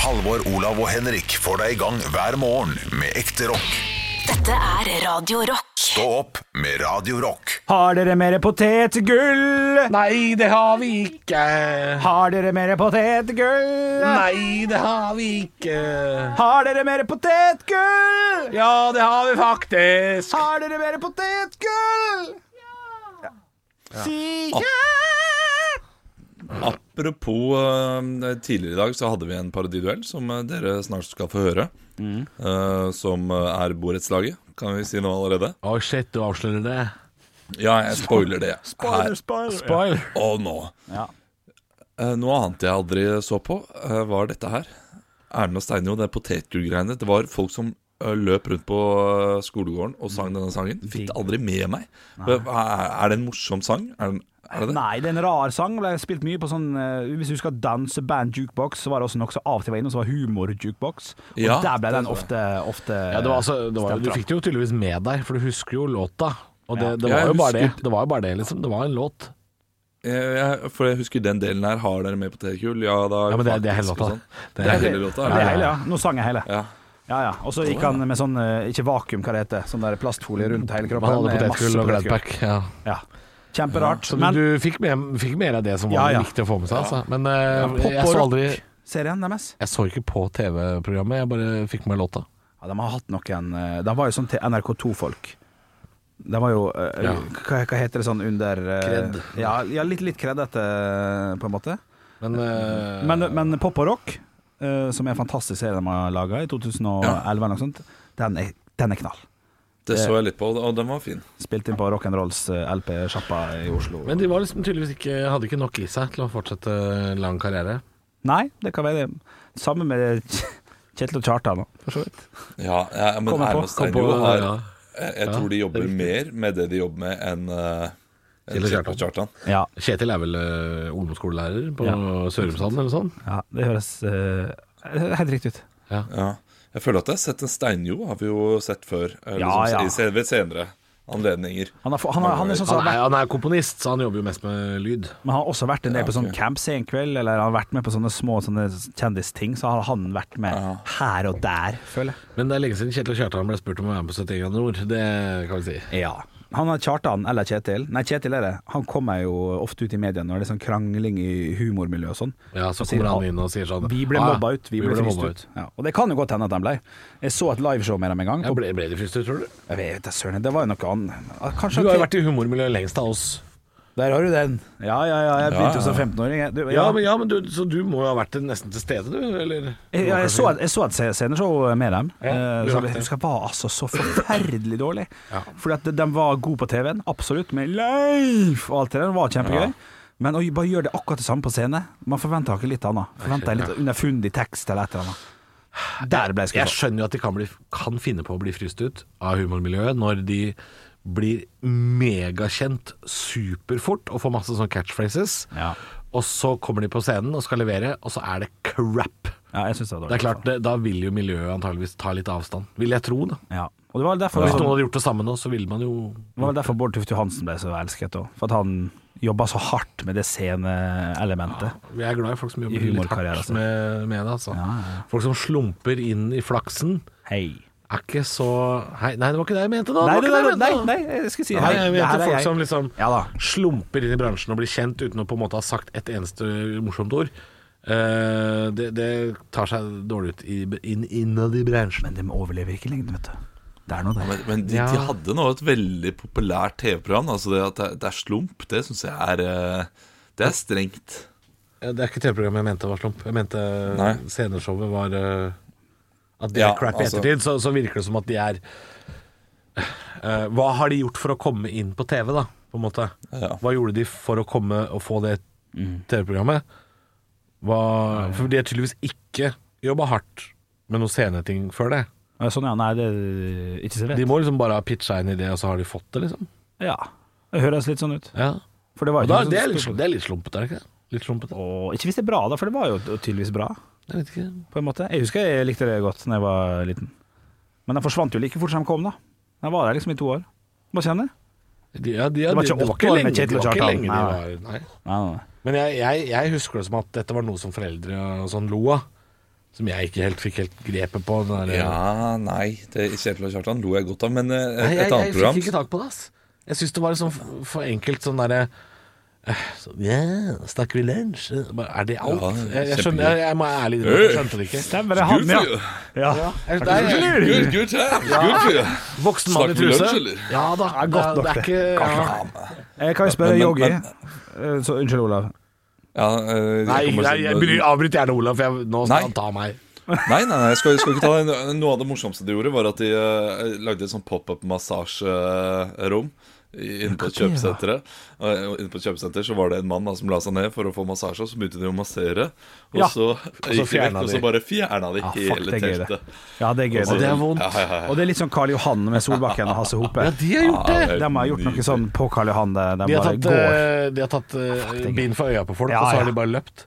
Halvor, Olav og Henrik får deg i gang hver morgen med ekte rock. Dette er Radio Rock. Stå opp med Radio Rock. Har dere mer potetgull? Nei, det har vi ikke. Har dere mer potetgull? Nei, det har vi ikke. Har dere mer potetgull? Ja, det har vi faktisk. Har dere mer potetgull? Ja. Si ja. Apropos eh, tidligere i dag så hadde vi en parodiduell som eh, dere snart skal få høre. Mm. eh, som eh, er borettslaget, kan vi si nå allerede. Å, shit, du avslører det. Ja, jeg spoiler det her Spoiler. og nå. Ja. Eh, noe annet jeg aldri så på, eh, var dette her. Erlend og Steinjo, det potetgullgreiene. Det var folk som eh, løp rundt på eh, skolegården og Mm. sang denne sangen. Fikk det aldri med meg. Hva- Er, er det en morsom sang? Er, den- er det det? Nei, det er en rar sang. Ble spilt mye på sånn eh, Hvis du husker danseband jukebox, så var det også noe som av og til var innom som var humor jukebox. Og Ja, der ble det den tror jeg. ofte, ofte Ja, det var altså, det var, stemt du fram. fikk det jo tydeligvis med deg, for du husker jo låta. Og det, det Ja, var jeg jo bare det. husker- Det var jo bare det, liksom. Det var en låt. Jeg, Eh, jeg, for jeg husker den delen her. Har dere med potetgull? Ja da. Ja, men det, det er hele låta. faktisk, og sånn. Det er hele låta. Ja, det eller? er hele, ja. Nå sang jeg hele. Ja. Ja, ja. Og så gikk han med sånn eh, Ikke vakuum, hva det heter. Sånn der plastfolie rundt hele kroppen. Man med hadde Mm. potetgull masse og Gladpack. Ja. Ja. Kjemperart. Så du, Men du fikk, med, fikk mer av det som Ja, var ja. viktig å få med seg, altså. Men eh, pop og jeg så rock. aldri serien deres Jeg så ikke på TV-programmet, jeg bare fikk med låta. ja, De har hatt noen eh, De var jo sånn til NRK2-folk. De var jo eh, Ja. hva, hva heter det sånn under Kredd. Ja, ja, litt, litt kreddete, eh, på en måte. Men, eh, Men, men Pop og Rock, eh, som er en fantastisk serie de har laga i 2011, eller noe sånt, den er, den er knall. Det så jeg litt på, og den var fin. Spilt inn på rock'n'rolls LP-sjappa eh, i Oslo. Men de var liksom tydeligvis ikke, hadde ikke nok i seg til å fortsette lang karriere. Nei, det kan være det. Sammen med Kjetil og Kjartan. For så vidt. Ja, ja men Kommer på, Erlend Steinjo kommer på, har ja. Jeg, jeg tror de jobber mer med det de jobber med, enn uh, Kjell og Kjartan. Kjartan. Ja, Kjetil er vel eh, ungdomsskolelærer på Ja. Sørumsand eller sånn? noe sånt? ja det høres eh, helt riktig ut. Ja. Jeg føler at jeg har sett en Steinjo, har vi jo sett før. eh, Ja, ja. i se- Ved senere anledninger. Han, har, han, har, han er sånn som Han har er, vært, han er komponist, så han jobber jo mest med lyd. men han har også vært en del på sånn ok. camp senkveld, eller han har vært med på sånne små sånne kjendisting, så har han vært med her og der, føler jeg. Men det er lenge siden Kjetil og Kjartan ble spurt om å være med på 71 grader nord. Det kan vi si. Ja. Han har Kjartan, eller Kjetil Nei, Kjetil er det. Han kommer jo ofte ut i media når det er sånn krangling i humormiljøet og sånn. Ja, Så Og sier kommer han inn og sier sånn Vi ble «Ah, ja, mobba ut, vi, ble, fryst mobba ut. Ja, og det kan jo godt hende at de ble. Jeg så et liveshow med dem en gang. Ja, På, ble, ble de fryst ut, tror du? jeg vet da søren, det var jo noe annet. Ah, Du Kanskje har jo at- vært i humormiljøet lengst av oss. Der har du den. Ja, ja, ja. Jeg begynte jo Ja, ja. som 15-åring. jeg. Du- Ja, men, ja, men du, Så du må jo ha vært nesten til stede, du? Eller? Jeg, jeg, så, et- jeg så et se- sceneshow med dem, Ja, eh, du som rakk jeg det. husker var altså så forferdelig dårlig. Fordi at de- de var gode på TV-en, absolutt, med Leif og alt det der. Det var kjempegøy. Men å bare gjøre det akkurat det samme på scene Man forventer ikke litt annet. Forventer en litt underfundig tekst eller et eller annet. Der ble jeg Jeg skuffa. skjønner jo at de kan, bli, kan finne på å bli fryst ut av humormiljøet når de blir megakjent superfort og får masse sånne catchphrases. Ja. Og så kommer de på scenen og skal levere, og så er det crap. Ja, jeg synes det var Det dårlig. altså. er klart, det, Da vil jo miljøet antageligvis ta litt avstand. Vil jeg tro, da. Ja. Og det var vel derfor, Hvis noen det hadde gjort det samme nå, så ville man jo var vel derfor Bård Tufte Johansen ble så elsket òg. For at han jobba så hardt med det sceneelementet. Vi er glad i folk som I jobber litt humorkarriere, hardt altså. med, med det. Altså. Folk som slumper inn i flaksen, Hei. er ikke så Hei, Nei, det var ikke det jeg mente nå! Nei, det var nei, ikke det jeg nei, mente nå. nei, jeg skal si Nei, jeg det her mente er folk jeg. som liksom Ja da. slumper inn i bransjen og blir kjent uten å på en måte ha sagt et eneste morsomt ord. Eh, det, det tar seg dårlig ut i, inn, innad i bransjen. Men de overlever ikke lenge, vet du. Det er noe der. Men, men de, Ja. de hadde nå et veldig populært TV-program. Altså det at det, er- det er slump, det syns jeg er eh, Det er strengt. Eh, Det er ikke TV-programmet jeg mente var slump. Jeg mente eh, Nei. sceneshowet var eh, At de Ja, er crap i altså- ettertid. Så, så virker det som at de er eh, Hva har de gjort for å komme inn på TV, da? På en måte. Ja. Mm. Hva gjorde de for å komme og få det TV-programmet? Hva, for de har tydeligvis ikke jobba hardt med noen sceneting før det. Ja, Sånn, ja. Nei, det er eh, ikke så De lett. må liksom bare ha pitcha en idé, og så har de fått det, liksom. Ja. Det høres litt sånn ut. Ja. For det var Og jo da, ikke det, noe er litt, stort- det er litt slumpete, er det ikke det? Litt slumpete. Og ikke hvis det er bra, da, for det var jo tydeligvis bra, Jeg vet ikke. på en måte. Jeg husker jeg likte det godt da jeg var liten. Men den forsvant jo like fort som den kom, da. Den var der liksom i to år. Hva kjenner du? De, ja, de, ja, Det var de- ikke det var åtte år med lenge- Kjetil og det var ikke Kjartan. lenge Nei, de var- nei. Nei, nei, nei. Men jeg, jeg, jeg husker det som at dette var noe som foreldre og sånn lo av. Som jeg ikke helt fikk helt grepet på. Den der, Ja, nei det, Kjetil og Kjartan lo jeg godt av, men eh, Nei, jeg, et jeg, annet program fikk ikke tak på det, ass. Jeg syns det var sånn f- for enkelt sånn derre eh, så, Ja, snakker vi lunsj? Eh, bare, Er det alt? Ja, jeg, jeg, skjønner, kjempegøy. jeg, jeg må være ærlig innrømme, jeg skjønte det ikke. Stemmer det, han, ja. Gud, ja. Jeg, det er, fyr. Gud, gud, times, gud, fyr. voksen mann i Snakker vi truse. lunsj, eller? Ja da, det er godt nok, det. er det. ikke, ja. Jeg kan jo spørre Men- Yogi. men- Eh, Så, unnskyld, Olav. Ja, eh, Nei, kommer nei, sånn- jeg bryr- avbryt gjerne Olav, for jeg, nå Nei. skal han ta meg. Nei, nei, nei, jeg skal, jeg skal ikke ta det. Noe av det morsomste de gjorde, var at de eh, lagde et sånn pop-up-massasjerom. eh, Inne på kjøpesenteret Og eh, Inne på et kjøpesenter så var det en mann da, som la seg ned for å få massasje, og så begynte de å massere. Og Ja, så gikk de fjerna vekk, og de. så bare fjerna de Ja, Ah, fuck, det hele er gøy, det. teltet. Ja, det er gøy. Og så- det det. er vondt. Ja, ja, ja. Og det er litt sånn Karl Johan med Solbakken og Hasse Hope. Ja, de har gjort det! det er De har gjort noe nydelig. sånn på Karl Johan. De, de De har bare tatt, går. eh, de har tatt eh, bind for øya på folk, Ja, og så ja. har de bare løpt.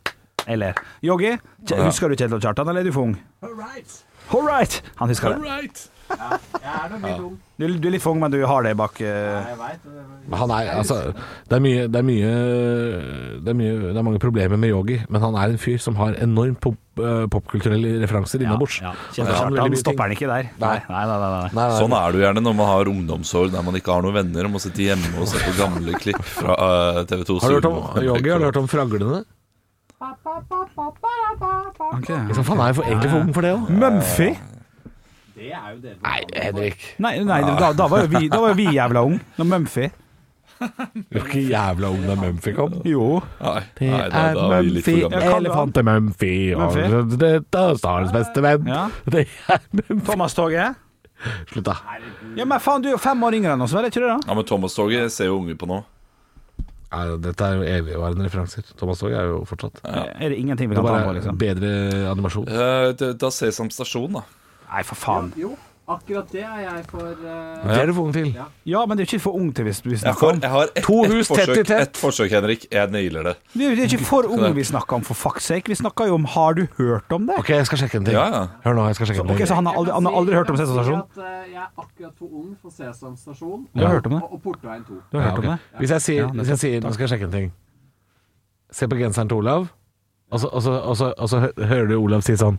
Jeg ler. Yogi, kje- husker du Kjetil og Kjartan, eller er du for ung? All right! Han husker det. Du, du er litt for ung, men du har det bak eh, Men Han er, altså, det, er mye, det, er mye, det er mye Det er mange problemer med Yogi, men han er en fyr som har enormt pop, eh, popkulturelle referanser innabords. Ja, ja. Han Kjetil og kan veldig mye Kjartan ting. stopper han ikke der. Nei, Nei. nei, nei. nei, nei. Nei, nei, Sånn er det jo gjerne når man har ungdomsår der man ikke har noen venner og må sitte hjemme og se på gamle klipp fra eh, TV 2. Har du hørt om Sånn Yogi? Har du hørt om Fraglene? Ok. Liksom, han er jo for, egentlig for ung for det òg. Mumphy? Nei, Henrik. Nei, nei da, da var jo vi, da var jo vi jævla ung Når Mumphy Du er ikke jævla ung da Mumphy kom. Jo. Nei, nei da, da er vi litt for gamle. elefanter Mumphy, og Mumphy. dette er Starens beste venn. Ja. Det er Mumphy. Thomas Toget? Slutt, da. Ja, men faen, du er jo fem år yngre enn oss, vel? er Ikke det, da? Ja, men Thomas-toget ser jo unge på nå. Nei, dette er jo evigvarende referanser. Thomas Haag er jo fortsatt Det Er det ingenting vi er kan ta bare på, liksom? bedre animasjon. Eh, da- da Sesam stasjon, da. Nei, for faen. Jo, akkurat det er jeg for eh, Det er du for ung til. Ja, men det er jo ikke for ung til hvis vi Jeg, snakker får, om jeg har ett To ett hus tett i forsøk, tett. ett forsøk, Henrik. Jeg nailer det. Det er jo ikke for unge vi snakker om, for fuck's sake. Vi snakker jo om 'har du hørt om det?' Ok, jeg skal sjekke en ting. Ja, ja. Hør nå, jeg skal sjekke en Ok, ting. Så han har aldri, han har aldri hørt om Jeg kan si Sensasjon? at, eh, Jeg er akkurat for ung for Sesam stasjon. Du har hørt om det? Og, og Portveien 2. Du har hørt om Ja, det? ok. Hvis jeg sier, Ja, nettopp. hvis jeg sier Nå skal jeg sjekke en ting. Se på genseren til Olav, og så, og så, og så, og så hø- hører du Olav si sånn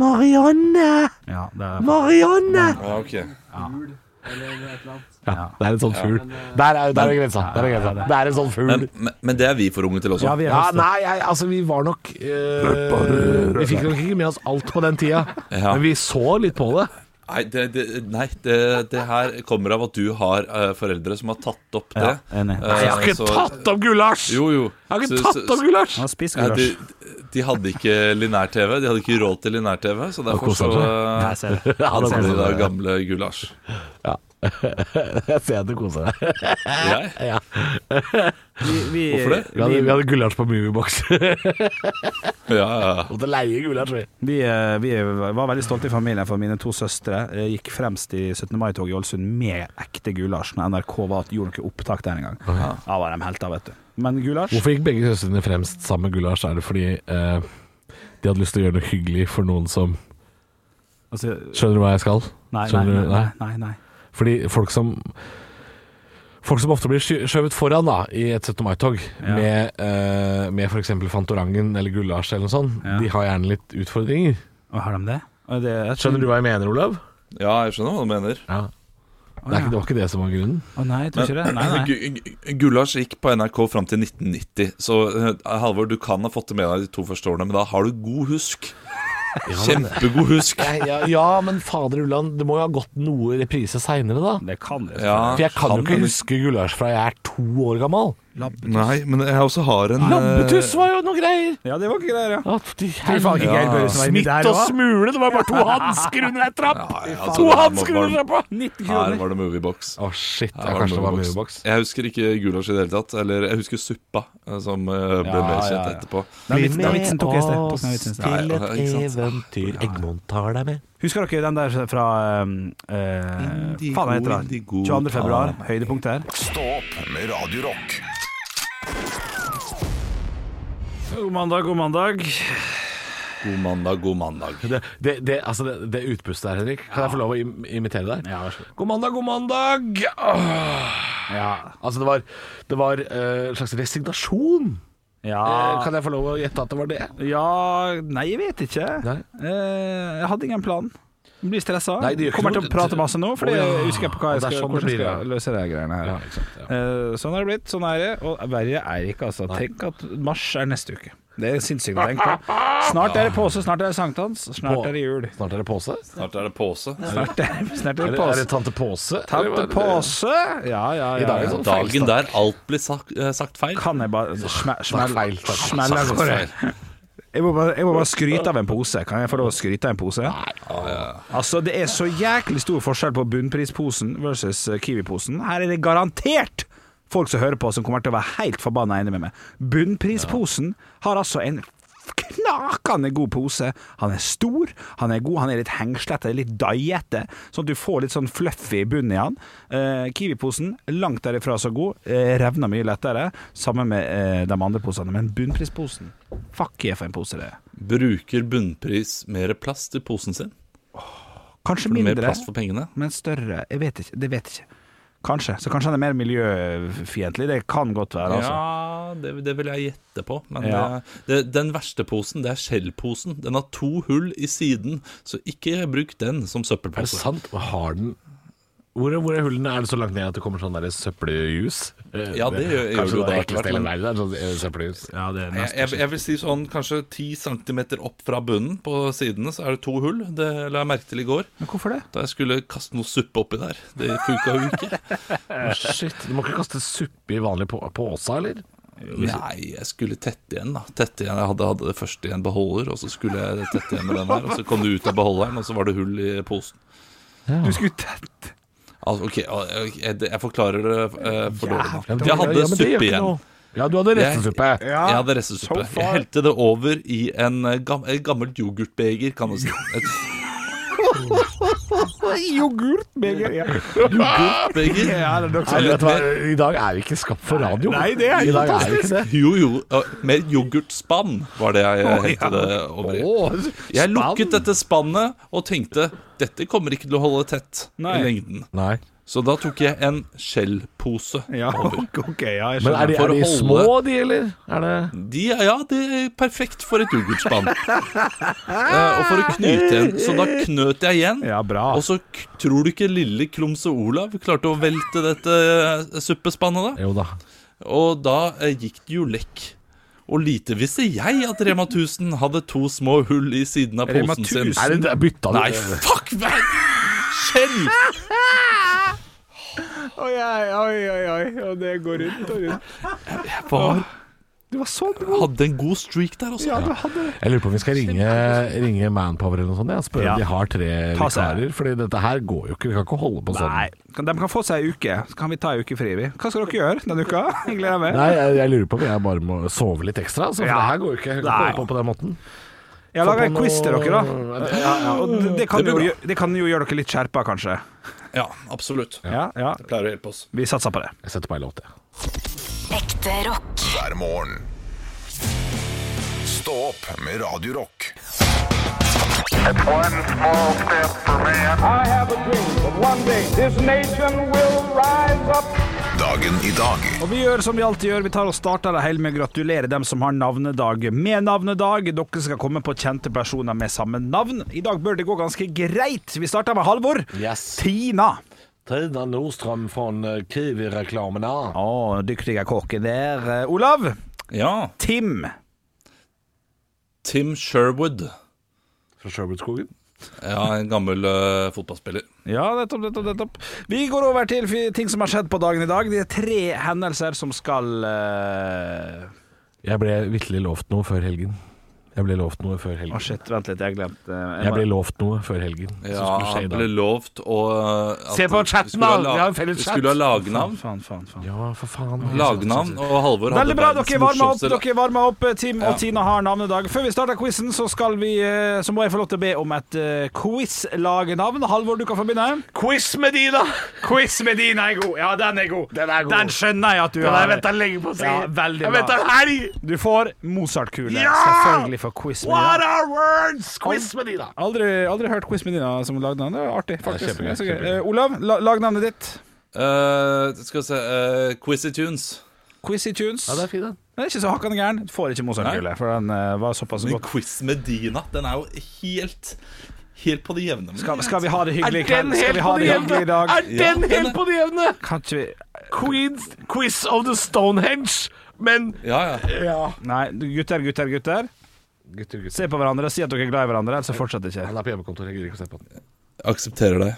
Marianne! Ja, det er Marianne! Ja, ok Gul, eller et eller annet. Ja, det er en sånn fugl. eh, Der er, der er grensa. Der er grensa. Det er en sånn fugl. men, men- men det er vi for unge til også. Ja, vi er Ja, fast. nei, jeg, altså vi var nok eh, Vi fikk nok ikke med oss alt på den tida, Ja. men vi så litt på det. Nei, det, det, nei det, det her kommer av at du har eh, foreldre som har tatt opp det. Ja, enig. Eh, Nei, Jeg har ikke så- tatt opp gulasj! Jo, jo. Jeg har Så- ikke så- tatt opp gulasj! Han spiser Nei, gulasj. de, de hadde ikke linær-TV. De hadde ikke råd til linær-TV, så derfor koser så Nei, jeg uh, ser det. Ja, da hadde koser de da jeg meg. gamle gulasj. Jeg ser at du koser deg. Jeg? Ja. Vi, vi, Hvorfor det? Vi hadde, vi hadde gulasj på Moviebox. Ja, ja. Måtte leie gulasj, vi. Vi, eh, vi var veldig stolte i familien, for mine to søstre eh, gikk fremst i 17. mai-toget i Ålesund med ekte gulasj, når NRK var at gjorde noe opptak der en gang. Da var de helter, vet du. Men gulasj Hvorfor gikk begge søstrene fremst sammen med gulasj? Er det fordi eh, de hadde lyst til å gjøre noe hyggelig for noen som altså, Skjønner du hva jeg skal? nei, nei, Skjønner nei, du- nei, nei, nei. Fordi folk som Folk som ofte blir sky- skjøvet foran da i et 17. mai-tog, med, eh, med f.eks. Fantorangen eller gulasj eller noe sånt, Ja. de har gjerne litt utfordringer. Å, Har de det? Å, det er- Skjønner du hva jeg mener, Olav? ja, jeg skjønner hva du mener. Ja. Å, Det, er ja. ikke, det var ikke det som var grunnen. Å nei, jeg tror ikke det. Nei, nei. Gu- gu- Gulasj gikk på NRK fram til 1990, så eh, Halvor, du kan ha fått det med deg de to første årene, men da har du god husk. Kjempegod husk. Nei, ja, ja, men fader Ulland, det må jo ha gått noe reprise seinere, da. Det kan det. Ja, For jeg kan jo ikke men- huske gulasj fra jeg er to år gammel. Nei, men jeg også har en Lambetuss var jo noe greier! Ja, det var ikke greier, ja. Å, fy Eh. Tror faen ikke helvete. Geir Børresen var inni Smitt der og òg. smule, det var bare to hansker under ei trapp! Ja, ja, altså, To det var- hansker under trappa! 19 Her kroner. var det Moviebox. Å, shit. Her Ja, kanskje det var Moviebox. Jeg husker ikke gulasj i det hele tatt. Eller jeg husker suppa, eh, som eh, ble Ja, mer ja, kjent ja. etterpå. Den vitsen, den vitsen tok jeg i sted. Tok den vitsen i sted. til et Ja, ikke sant? eventyr. Egmond tar deg med. Husker dere den der fra um, eh, Indigo, Faen, hva heter den? indigo, 22. februar. ta meg. Høydepunkt her. Stå opp med Radio Rock. God mandag, god mandag. God mandag, god mandag. Det, det, det, altså det, det utpustet der, Henrik. Kan jeg få lov å im imitere deg? Ja, vær så god. God mandag, god mandag! Åh. Ja. Altså, det var, det var eh, en slags resignasjon Eh, Ja, Kan jeg få lov å gjette at det var det? ja Nei, jeg vet ikke. Nei. Eh, jeg hadde ingen plan. Jeg Blir stressa. Nei, det gjør ikke Kommer noe. til å prate masse nå, Fordi Å, ja. jeg er usikker på hva jeg Det er skal, sånn det hvordan jeg blir, skal løse de greiene her. Ja, ikke sant, ja. Eh, sånn er det blitt, sånn er det. Og verre er det ikke, altså. Tenk at mars er neste uke. Det er sinnssykt å tenke på. Snart er det påse, snart er det sankthans, snart På- er det jul. Snart er det påse? Snart er det påse. Snart er det, snart er Er det det, er det påse. tante Påse? Tante Påse? Ja, ja, I dag ja. er det ja. sånn Dagen feilstart. der alt blir sagt, eh, sagt feil. Kan jeg bare smelle smell, feil, takk. smell, Jeg må, bare, jeg må bare skryte av en pose. Kan jeg få lov å skryte av en pose? Altså, Det er så jæklig stor forskjell på bunnprisposen versus eh, Kiwi-posen. Her er det garantert folk som hører på, som kommer til å være helt forbanna enige med meg. Bunnprisposen har altså en knakende god pose. Han er stor, han er god, han er litt hengslete, litt daiete, sånn at du får litt sånn fluffy bunn i han. Eh, Kiwi-posen, langt derifra så god, eh, revner mye lettere, sammen med eh, de andre posene. Men bunnprisposen, fuck yeah for en pose det er. Bruker bunnpris mer plass til posen sin? Kanskje Får du mer mindre, plass for pengene? men større. Jeg vet ikke. Det vet jeg ikke. Kanskje. Så kanskje han er mer miljøfiendtlig. Det kan godt være, altså. Ja, det, det vil jeg gjette på. Men Ja. eh, det, den verste posen, det er skjellposen. Den har to hull i siden, så ikke bruk den som Er det søppelpose. sant? Har den hvor, er- hvor er hullene? Er det så langt ned at det kommer sånn der søppeljus? Eh, Ja, det gjør- gjør Kanskje det jo det da er etter hvert, ekleste i hele men- verden, det er sånn eh, søppeljus. Ja, det er Jeg, nesten jeg, jeg vil si sånn kanskje 10 cm opp fra bunnen på sidene, så er det to hull. Det la jeg merke til i går, Men hvorfor det? da jeg skulle kaste noe suppe oppi der. Det funka jo ikke. Shit, du må ikke kaste suppe i vanlig på, påsa, eller? Nei, jeg skulle tette igjen da Tette igjen, Jeg hadde, hadde det først i en beholder Og så skulle jeg tette igjen med den her Og så kom du ut av beholderen Og så var det hull i posen Du skulle tett altså, Ok, ok, jeg, jeg forklarer det eh, for dårlig Ja, men nå Jeg det- ja, hadde men det gjør suppe ikke igjen noe. Ja, du hadde restesuppe. Jeg hadde restesuppe Jeg helte det over i en eh, gam, eh, gammelt yoghurtbeger Kan man si Et Yoghurtbeger. Ja. yoghurtbeger Ja, det er nok Nei, sånn. vet du hva? I dag er vi ikke skapt for radio. Nei, det er I dag er vi fantastisk. ikke det. Jo, jo, eh, med yoghurtspann Var det jeg eh, helte det over i Åh, Jeg spann. lukket dette spannet Og tenkte, dette kommer ikke til å holde tett Nei. I lengden Nei. Så da tok jeg en skjellpose Ja, over. ok, ja, jeg Men skjønner. er de, For er de å små, holde- de, eller? Er det De, ja, det er perfekt for et yoghurtspann. eh, og for å knyte igjen. Så da knøt jeg igjen. Ja, bra. Og så k tror du ikke lille Klumse Olav klarte å velte dette eh, suppespannet, da? Jo da. Og da eh, gikk det jo lekk. Og lite visste jeg at Rema 1000 hadde to små hull i siden av Rema posen sin. 1000? Er det, det er bytta Nei, fuck meg! Skjell! Oi, oi, oi, oi, oi. Og det går rundt og rundt. Var, Du var så god. hadde en god streak der også. Ja, du hadde det. Jeg lurer på om vi skal ringe, ringe Manpower eller noe sånt ja, og spørre Ja. om de har tre Ta seg. vikarer. Fordi dette her går jo ikke. Vi kan ikke holde på sånn. Nei, kan- de kan få seg ei uke, så kan vi ta ei uke fri, vi. Hva skal dere gjøre denne uka? Jeg gleder meg. Nei, jeg, jeg lurer på om jeg bare må sove litt ekstra. Altså, for Ja. det her går jo ikke. Jeg kan Nei. ikke holde på på den måten. Jeg har Få laga på en quiz til noe- dere, da. Og det, det, kan Det jo, blir gjø- det kan jo gjøre dere litt skjerpa, kanskje. Ja, absolutt. Ja, ja. Pleier å hjelpe oss. Vi satser på det. Jeg setter på ei låt, jeg. Ekte rock. hver morgen. Stå opp med Radio Rock. One small step for man. I have a dream that one day this nation will rise up. Dagen i dag Og vi gjør som vi alltid gjør, vi tar og starter det hele med å gratulere dem som har navnedag med navnedag. Dere skal komme på kjente personer med samme navn. I dag bør det gå ganske greit. Vi starter med Halvor. Yes. Tina. Tina Nordstrøm fra Kiwi-reklamen. Å, dyktige kokken der. Eh, Olav. Ja. Tim. Tim Sherwood. Fra Sherwoodskogen. Ja, en gammel eh, fotballspiller. Ja, nettopp, nettopp, nettopp. Vi går over til fi- ting som har skjedd på dagen i dag. Det er tre hendelser som skal eh, Jeg ble vitterlig lovt noe før helgen. Jeg ble lovt noe Å, før helgen. Ah, shit, vent litt, jeg glemte eh, Jeg må- ble lovt noe før helgen. som Ja, skulle skje i han dag. ble lovt å eh, at Se på vi chatten, skulle ha da. la- Vi har en felles Vi chat. skulle ha lagnavn. Faen, faen, faen. Ja, for faen. Lagnavn, og Halvor hadde Veldig bra, dere varmer opp. morsomste la- Dere varmer opp eh, Tim og Ja. Tina har navnedag. Før vi starter quizen, så, skal vi, eh, så må jeg få lov til å be om et eh, quiz-lagnavn. Halvor, du kan få begynne. Quiz med de, da! Quiz med Dina er god. Ja, den er god. Den er god. Den skjønner jeg at du har. lenge på å Ja, veldig bra. helg! Du får Mozart-kule, Ja! selvfølgelig, for quiz med Dina. are words? Quiz med de, da! Aldri, aldri hørt quiz med Dina som lagnavn. Det er artig, faktisk. kjempegøy, Det er så gøy. kjempegøy. Eh, Olav, la, lagnavnet ditt. Eh, Skal vi se eh, Quizzy Tunes. Quiz i tunes. Ja, det er fint, den. Men det er ikke så hakkende gæren. Du får ikke Mozart-kule, for den eh, var såpass Men godt. Quiz Medina, den er jo helt Helt på det jevne. med Skal, det. skal vi ha det hyggelig i Er den kveld? Skal helt vi på ha det det hyggelig i jevne? dag? Er den Ja, helt på det jevne? Kan ikke vi Queens Quiz of the Stonehenge. Men Ja, ja. ja. Nei, gutter, gutter, gutter. Gutter, gutter. Se på hverandre, si at dere er glad i hverandre, ellers så fortsetter det ikke. Han er på hjemmekontor, jeg gidder ikke å se på den. Aksepterer deg.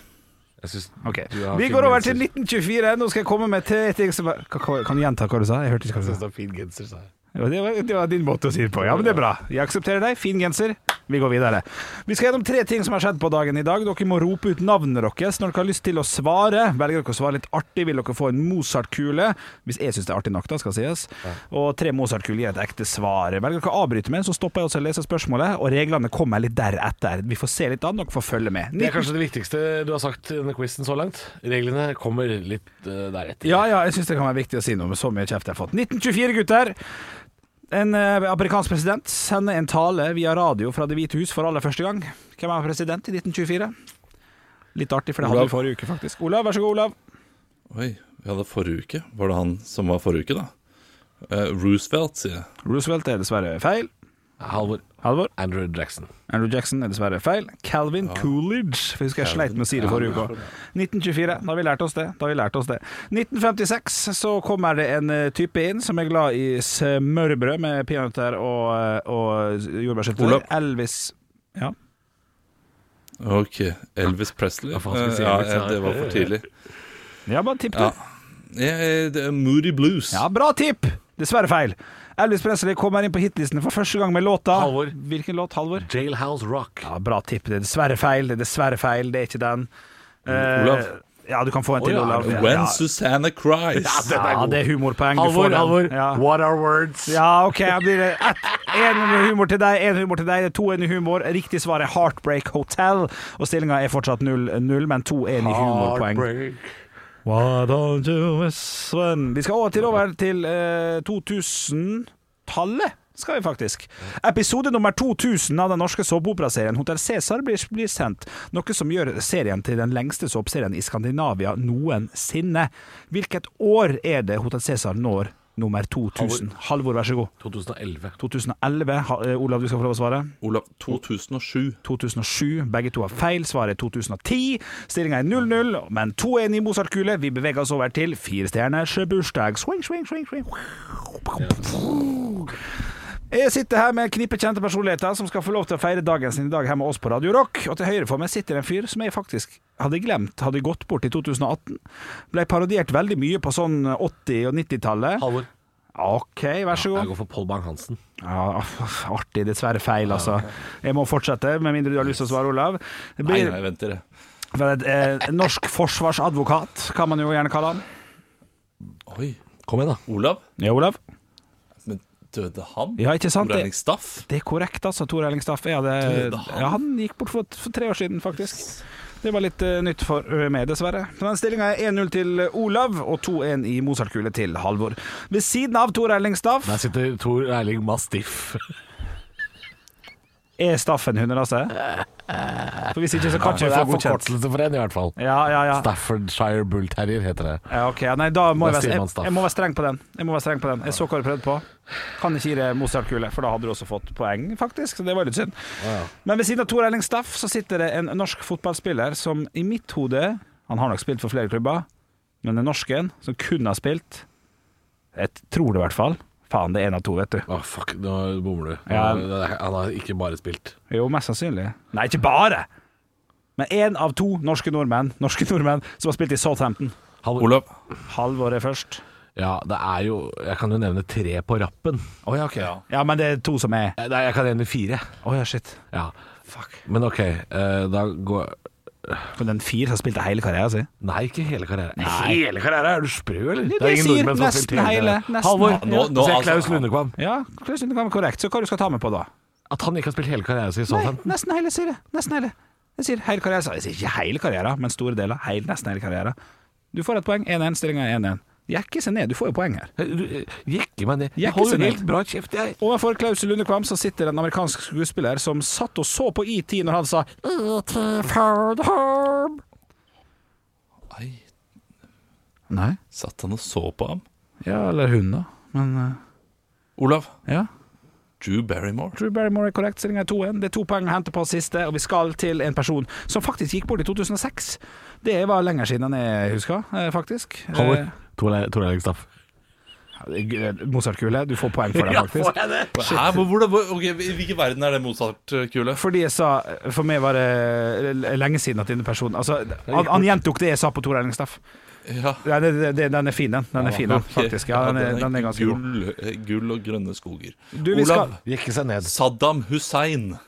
Jeg synes Ok, du har Vi fin går over til genser. 1924. Nå skal jeg komme med tre ting som er- Hva- hva- Kan du gjenta hva du sa? Jeg hørte ikke hva Jeg du synes sa. det var fin genser, sa jeg. Jo, Det var, det var din måte å si det på. Ja, men det er bra. Jeg aksepterer deg. Fin genser. Vi går videre. Vi skal gjennom tre ting som har skjedd på dagen i dag. Dere må rope ut navnet deres når dere har lyst til å svare. Velger dere å svare litt artig, vil dere få en Mozart-kule. Hvis jeg syns det er artig nok, da, skal sies. Og tre Mozart-kuler gir et ekte svar. Velger dere å avbryte meg, så stopper jeg også å lese spørsmålet, og reglene kommer litt deretter. Vi får se litt an, dere får følge med. Det er kanskje det viktigste du har sagt i denne quizen så langt. Reglene kommer litt eh, deretter. Ja, ja, jeg syns det kan være viktig å si noe med så mye kjeft jeg har fått. 1924, gutter. En eh, amerikansk president sender en tale via radio fra Det hvite hus for aller første gang. Hvem er president i 1924? Litt artig, for det hadde Olav. vi forrige uke, faktisk. Olav, vær så god, Olav. Oi, vi hadde forrige uke. Var det han som var forrige uke, da? Eh, Roosevelt, sier jeg. Roosevelt er dessverre feil. Halvor Halvor. Andrew Jackson. Andrew Jackson er dessverre feil. Calvin Coolidge. For jeg husker jeg sleit med å si det forrige uke. også. 1924. Da har vi lært oss det. Da har vi lært oss det. 1956 så kommer det en eh, type inn som er glad i smørbrød med peanøtter og, eh, og jordbærsyltetøy. Olav. Elvis Ja. Ok, Elvis Presley. Hva faen skal vi si, Eh, ja, Elvis? ja, det var for tidlig. Ja, bare tipp, Ja. du. Eh, det er Moody Blues. Ja, bra tipp! Dessverre feil. Elvis Presley kommer inn på hitlistene for første gang med låta Halvor. Hvilken låt, Halvor? Jailhouse Rock. Ja, bra tipp. Det er dessverre feil. Det er dessverre feil. Det er ikke den. Eh, Olav. Ja, du kan få en til, Å, ja. Olav. When Ja. Susanna Cries. Ja, det er humorpoeng. Du får Halvor, den. Halvor. Ja. What are words? Ja, OK. Jeg blir det ett. Én humor til deg, én humor til deg. Det er to én i humor. Riktig svar er Heartbreak Hotel. Og stillinga er fortsatt 0-0, men to én i humorpoeng. Heartbreak. Why don't you miss when Vi skal over til, over til eh, 2000-tallet, skal vi faktisk. Episode nummer 2000 av den norske såpeoperaserien Hotell Cæsar blir, blir sendt, noe som gjør serien til den lengste såpeserien i Skandinavia noensinne. Hvilket år er det Hotell Cæsar når nummer 2000? Halvor, vær så god. 2011. 2011. Ha, eh, Olav, du skal få lov å svare. Olav, 2007. 2007. Begge to har feil. Svaret er 2010. Stillinga er 0-0, men 2-1 i Mozart-kule. Vi beveger oss over til firestjerners bursdag. Swing, swing, swing, swing. Jeg sitter her med et knippe kjente personligheter som skal få lov til å feire dagen sin i dag her med oss på Radio Rock. Og til høyre for meg sitter en fyr som jeg faktisk hadde glemt hadde gått bort i 2018. Ble parodiert veldig mye på sånn 80- og 90-tallet. Halvor. OK, vær så god. Jeg går for Paul Bang-Hansen. Ja, artig. Dessverre feil, altså. Jeg må fortsette, med mindre du har lyst til å svare, Olav. Det Nei, blir nei, vent dere. for et, eh, norsk forsvarsadvokat, kan man jo gjerne kalle han. Oi, Kom igjen, da. Olav? Ja, Olav? Men døde han? Ja, ikke sant? Regning Det, Staff? det er korrekt, altså. Tor Erling Staffe. Ja, det, Døde han? ja, han gikk bort for, for tre år siden, faktisk. Det var litt eh, nytt for ø, meg, dessverre. Men stillinga er 1-0 til Olav og 2-1 i Mozart-kule til Halvor. Ved siden av Tor Erling Staff Der sitter Tor Erling Mastiff. er Staff en hunderase. For hvis ikke, så kan Det ikke vi er få godkjent. forkortelse for en, i hvert fall. Ja, ja, ja. Staffordshire Bull Terrier heter det. Ja, ok, nei, da må Da jeg, sier være, man jeg, staff. jeg må være streng på den. Jeg må være streng på den Jeg så hva du prøvde på. Kan ikke gi deg Mozart-kule, for da hadde du også fått poeng, faktisk. Så det var litt synd. Men ved siden av Tor Erling Staff så sitter det en norsk fotballspiller som i mitt hode Han har nok spilt for flere klubber, men den norsken som kun har spilt Jeg tror det i hvert fall. Faen, det er én av to, vet du. Å, fuck, nå bommer du. Ja. Nå- Han har ikke bare spilt. Jo, mest sannsynlig. Nei, ikke bare! Men én av to norske nordmenn Norske nordmenn som har spilt i Southampton. Halvor. Olav? Halvåret først. Ja, det er jo Jeg kan jo nevne tre på rappen. Å ja, ok. Ja, men det er to som er Eh, Nei, jeg kan nevne fire. Å ja, shit. Ja. Fuck. Men OK, eh, da går Men den fire som spilte hele karrieren sin? Nei, ikke hele karrieren. Hele karrieren? Er du sprø, eller? Det, det sier har spilt nesten hele, karrieren. nesten Halvor, hele. Nå- nå, nå, altså- ser Klaus Lundekvam. Ja, Klaus Lund kan være korrekt. Så hva du skal ta med på da? At han ikke har spilt hele karrieren sin i Nei, Southampton. nesten hele, sier jeg. Nesten hele. Jeg sier hele karriere. Jeg sier ikke hele karriere, men store deler. Heil, nesten hele karriere. Du får et poeng. 1-1, stillinga er 1-1. Jekke seg ned, du får jo poeng her. Du, eh, Jekke meg ned. Jekke Jeg holder seg ned. helt bra kjeft, jeg. Overfor Klaus Lundekvam så sitter en amerikansk skuespiller som satt og så på ET når han sa ET Found Home. Nei, Nei. satt han og så på ham? Ja, eller hun, da. Men eh, Olav. Ja. Drew Barrymore. Drew Barrymore er korrekt. Stillinga er 2-1. Det er to poeng å hente på siste, og vi skal til en person som faktisk gikk bort i 2006. Det var lenger siden enn jeg husker, eh, faktisk. Halvor. Tor Eil- Tor Eirik Staff. Eh, g- Mozartkule. Du får poeng for det, faktisk. Hæ, hvor, hvor, hvor, ok, I hvilken verden er det eh, Mozart-kule? Fordi jeg sa For meg var det l- lenge siden at denne personen Altså, han, han gjentok det jeg sa på Tor Erling Staff. Ja. Ja, det, det, det, den er fin, den. Den er fin, den, faktisk. Ja, den, er, den er ganske god. gull, eh, gull og grønne skoger. Du, vi skal- Jekke seg ned. Saddam Hussein.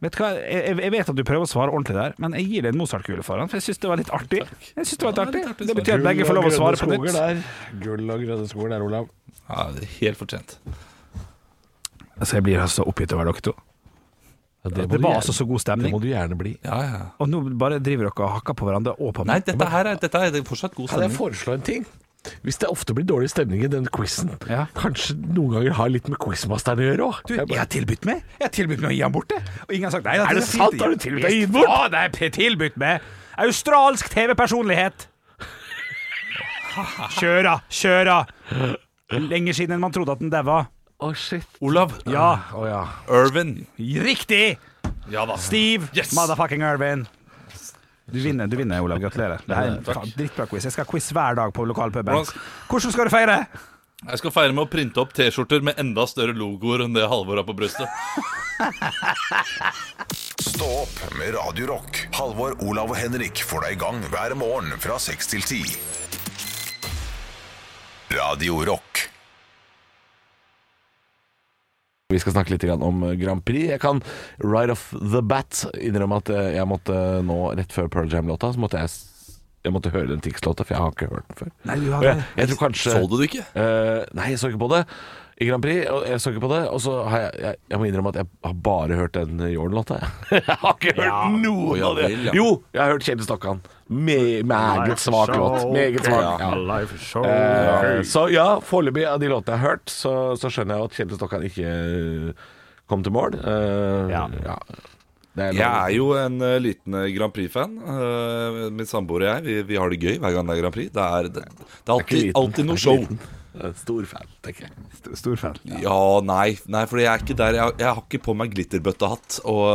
Vet du hva, jeg, jeg- jeg vet at du prøver å svare ordentlig der, men jeg gir deg en Mozart-kule for han, for jeg syns det var litt artig. Jeg synes Det var litt Ja, det er litt artig artig Det betyr at begge får lov å svare på nytt. Gull og grønne skoger der, Olav. Ja, det er helt fortjent. Altså, jeg blir altså oppgitt over dere to. det, Det var altså så god Det stemning. må du gjerne bli. Ja, ja. Og nå bare driver dere og hakker på hverandre og på Nei, meg. dette her er, dette er det er fortsatt god Kan jeg stemning. foreslå en ting? Hvis det ofte blir dårlig stemning i den quizen, Ja. kanskje noen ganger har litt med quizmasteren å gjøre òg? Du, jeg har tilbudt meg Jeg har tilbudt meg å gi han bort det. Og ingen har sagt nei. da, Er det fint. sant? Har du tilbudt deg å gi den bort? Ja, det er p- tilbudt meg. Australsk TV-personlighet. Kjøra, kjøra. Lenge siden man trodde at den daua. Å, shit. Olav. Ja, Å ja. Irvin. riktig! Ja da. Steve Yes! motherfucking Irvin. Du vinner, du vinner, Olav. Gratulerer. Det er en faen drittbra quiz. Jeg skal ha quiz hver dag på lokalpuben. Hvordan skal du feire? Jeg skal feire med å printe opp T-skjorter med enda større logoer enn det Halvor har på brystet. Stå opp med Radio Rock. Halvor, Olav og Henrik får deg i gang hver morgen fra 6 til 10. Radio Rock. Vi skal snakke litt grann om eh, Grand Prix. Jeg kan right off the bat innrømme at eh, jeg måtte nå, rett før Pearl Jam-låta, så måtte jeg, s- jeg måtte høre den Tix-låta, for jeg har ikke hørt den før. Nei, du Og har jeg, jeg tror kanskje Så du det ikke? Eh, nei, jeg så ikke på det i Grand Prix. Og jeg så ikke på det Og så har jeg, jeg Jeg må innrømme at jeg har bare hørt den Jordan-låta. jeg. jeg har ikke hørt noen Ja av det. vel, ja. Jo, jeg har hørt Kjell Stokkan. Me meget svak låt. Meget svak. Ja. Eh, Så ja, foreløpig av de låtene jeg har hørt, så, så skjønner jeg at Kjell Stokkan ikke eh, kom til mål. Eh, Ja. ja. Det er Jeg er jo en eh, liten eh, Grand Prix-fan. Eh, min samboer og jeg vi, vi har det gøy hver gang det er Grand Prix. Det er, det, det er alltid, alltid noe show. eh, Stor fan, tenker jeg. Stor fan. Ja, nei, nei for jeg er ikke der. Jeg, jeg har ikke på meg glitterbøttehatt og,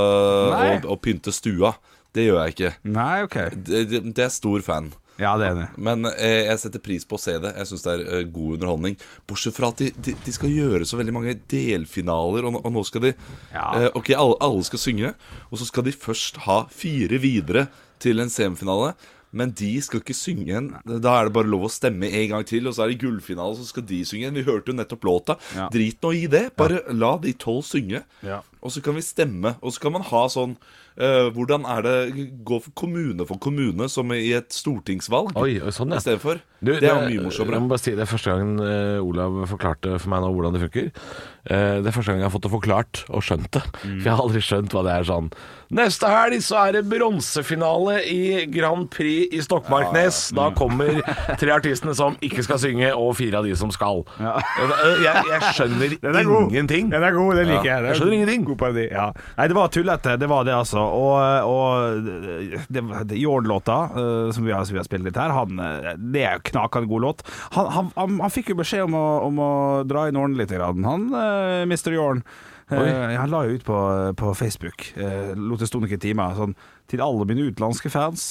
Nei. og, og pynte stua. Det gjør jeg ikke. Nei, OK. Det, det, det er stor fan. Ja, det er det. Men eh, jeg setter pris på å se det. Jeg syns det er eh, god underholdning. Bortsett fra at de, de, de skal gjøre så veldig mange delfinaler, og, nå- og nå skal de Ja. eh, Ok, alle, alle skal synge, og så skal de først ha fire videre til en semifinale. Men de skal ikke synge en. Da er det bare lov å stemme en gang til. Og så er det gullfinale, så skal de synge en. Vi hørte jo nettopp låta. Ja. Drit nå i det. Bare la de tolv synge. Ja. Og så kan vi stemme, og så kan man ha sånn eh, Hvordan er det Gå for kommune for kommune, som i et stortingsvalg Oi, sånn, ja. i stedet for. Du, det er jo mye morsommere. Jeg må bare si, det er første gangen eh, Olav forklarte for meg nå hvordan det funker. Eh, det er første gang jeg har fått det forklart og skjønt det. For jeg har aldri skjønt hva det er sånn Neste helg så er det bronsefinale i Grand Prix i Stokmarknes. Da kommer tre artistene som ikke skal synge, og fire av de som skal. Eh, Jeg, jeg skjønner Den er god. ingenting. Den er god, den liker jeg. jeg skjønner ingenting. God parodi. Ja. Nei, det var tullete, det var det, altså. Og, og det, det, Jorn-låta, eh, som vi har, som vi har spilt litt her, han, eh, det er jo knakende god låt. Han, han, han, han fikk jo beskjed om å, om å dra inn årene litt, grann. han eh, Mr. Jorn. Eh, han la jo ut på, på Facebook, eh, lot det stå noen timer, sånn Til alle mine utenlandske fans.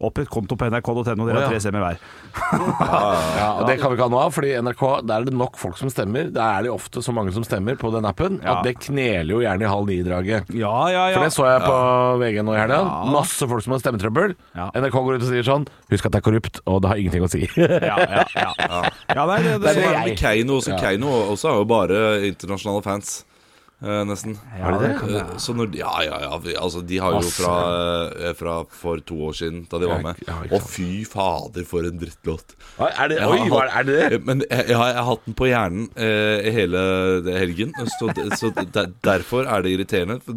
Opprett konto på nrk.no, dere Å, ja. har tre stemmer hver. Ja, og Det kan vi ikke ha noe av, fordi NRK der er det nok folk som stemmer. Der er det ofte så mange som stemmer på den appen, Ja. at det kneler jo gjerne i halv ni-draget. Ja, ja, ja. For det så jeg på VG nå i helga. Masse folk som har stemmetrøbbel. Ja. NRK går ut og sier sånn Husk at det er korrupt, og det har ingenting å si. ja, ja, ja. ja nei, det, det, Så det er er det med jeg. Keiino også. Keiino altså også er jo bare internasjonale fans. eh, nesten. Ja, det kan Eh, så når, ja, ja, ja. Vi, altså, de har jo Masse. fra, eh, fra for to år siden, da de var med. Ja, ikke Å, sant. fy fader, for en drittlåt. er det, Jeg oi, har hva hatt- Eh, er det det? Men jeg, jeg, har, jeg har hatt den på hjernen eh, hele det- helgen, så, så der, derfor er det irriterende. For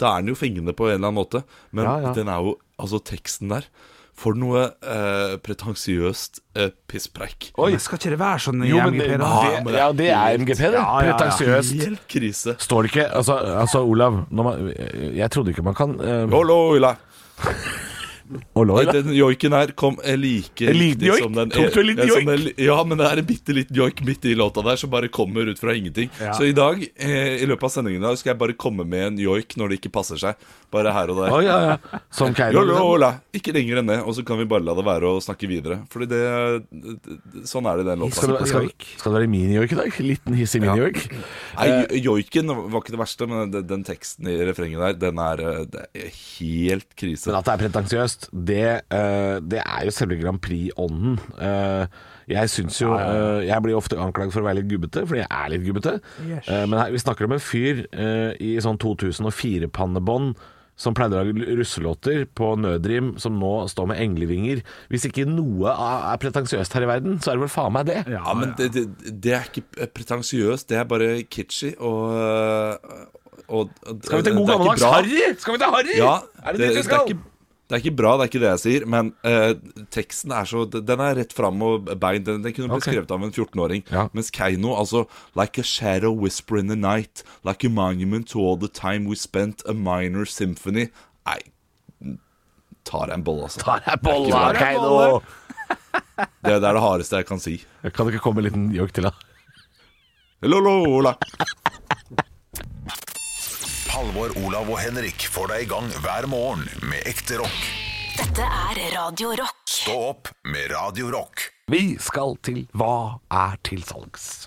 da er den jo fengende på en eller annen måte, men Ja, ja. den er jo Altså, teksten der For noe eh, pretensiøst eh, pisspreik. Men skal ikke det være sånn i Jo, men det, MGP, da? Ja, det, men det er ja, det er MGP, det. Ja, ja, ja. Pretensiøst. Helt krise. Står det ikke Altså, altså Olav, når man, jeg trodde ikke man kan eh, Hallo, Ulla. Og lår, da. Den joiken her kom eh, like En liten riktig joik? som den, Tok du en liten ja, som joik? den- Ja, men det er en bitte liten joik midt i låta der som bare kommer ut fra ingenting. Så i dag, eh, i løpet av sendingen, i dag skal jeg bare komme med en joik når det ikke passer seg. Bare her og der. Å, ja, ja. Som Keiino. Jo, jo, liksom. la. Ikke lenger enn det, og så kan vi bare la det være å snakke videre. Fordi det, Sånn er det i den låta. Skal det, skal, skal det være mini-joik i dag? Liten hissig mini-joik? Eh. Nei, joiken var ikke det verste, men den, den teksten i refrenget der, den er, eh, det er helt krise. Men at det er pretensiøst, det, eh, det er jo selve Grand Prix-ånden. Eh, jeg syns jo eh, Jeg blir ofte anklaget for å være litt gubbete, fordi jeg er litt gubbete. Yes. Eh, men her, vi snakker om en fyr eh, i sånn 2004-pannebånd som pleide å lage russelåter på Nødrim, som nå står med englevinger. Hvis ikke noe er er pretensiøst her i verden, så er det vel faen meg det. Ja, men det, det, det er ikke pretensiøst, det er bare kitschy og, og, og Skal vi til god det er ikke gammeldags bra. Harry? Skal vi til Harry? Ja, er det dit vi det er skal? ikke det er ikke bra, det er ikke det jeg sier, men eh, teksten er så Den er rett fram og bein. Den, den kunne blitt Ok. skrevet av en 14-åring. Ja. Mens Keiino, altså Like a shadow whisper in the night. Like a monument to all the time we spent a minor symphony. Nei, tar jeg en bolle, altså. Tar jeg bolla, Det er ikke Keiino? Det, det er det hardeste jeg kan si. Kan det ikke komme en liten joik til, da? Lolola. Halvor, Olav og Henrik får deg i gang hver morgen med ekte rock. Dette er Radio Rock. Stå opp med Radio Rock. Vi skal til Hva er til salgs?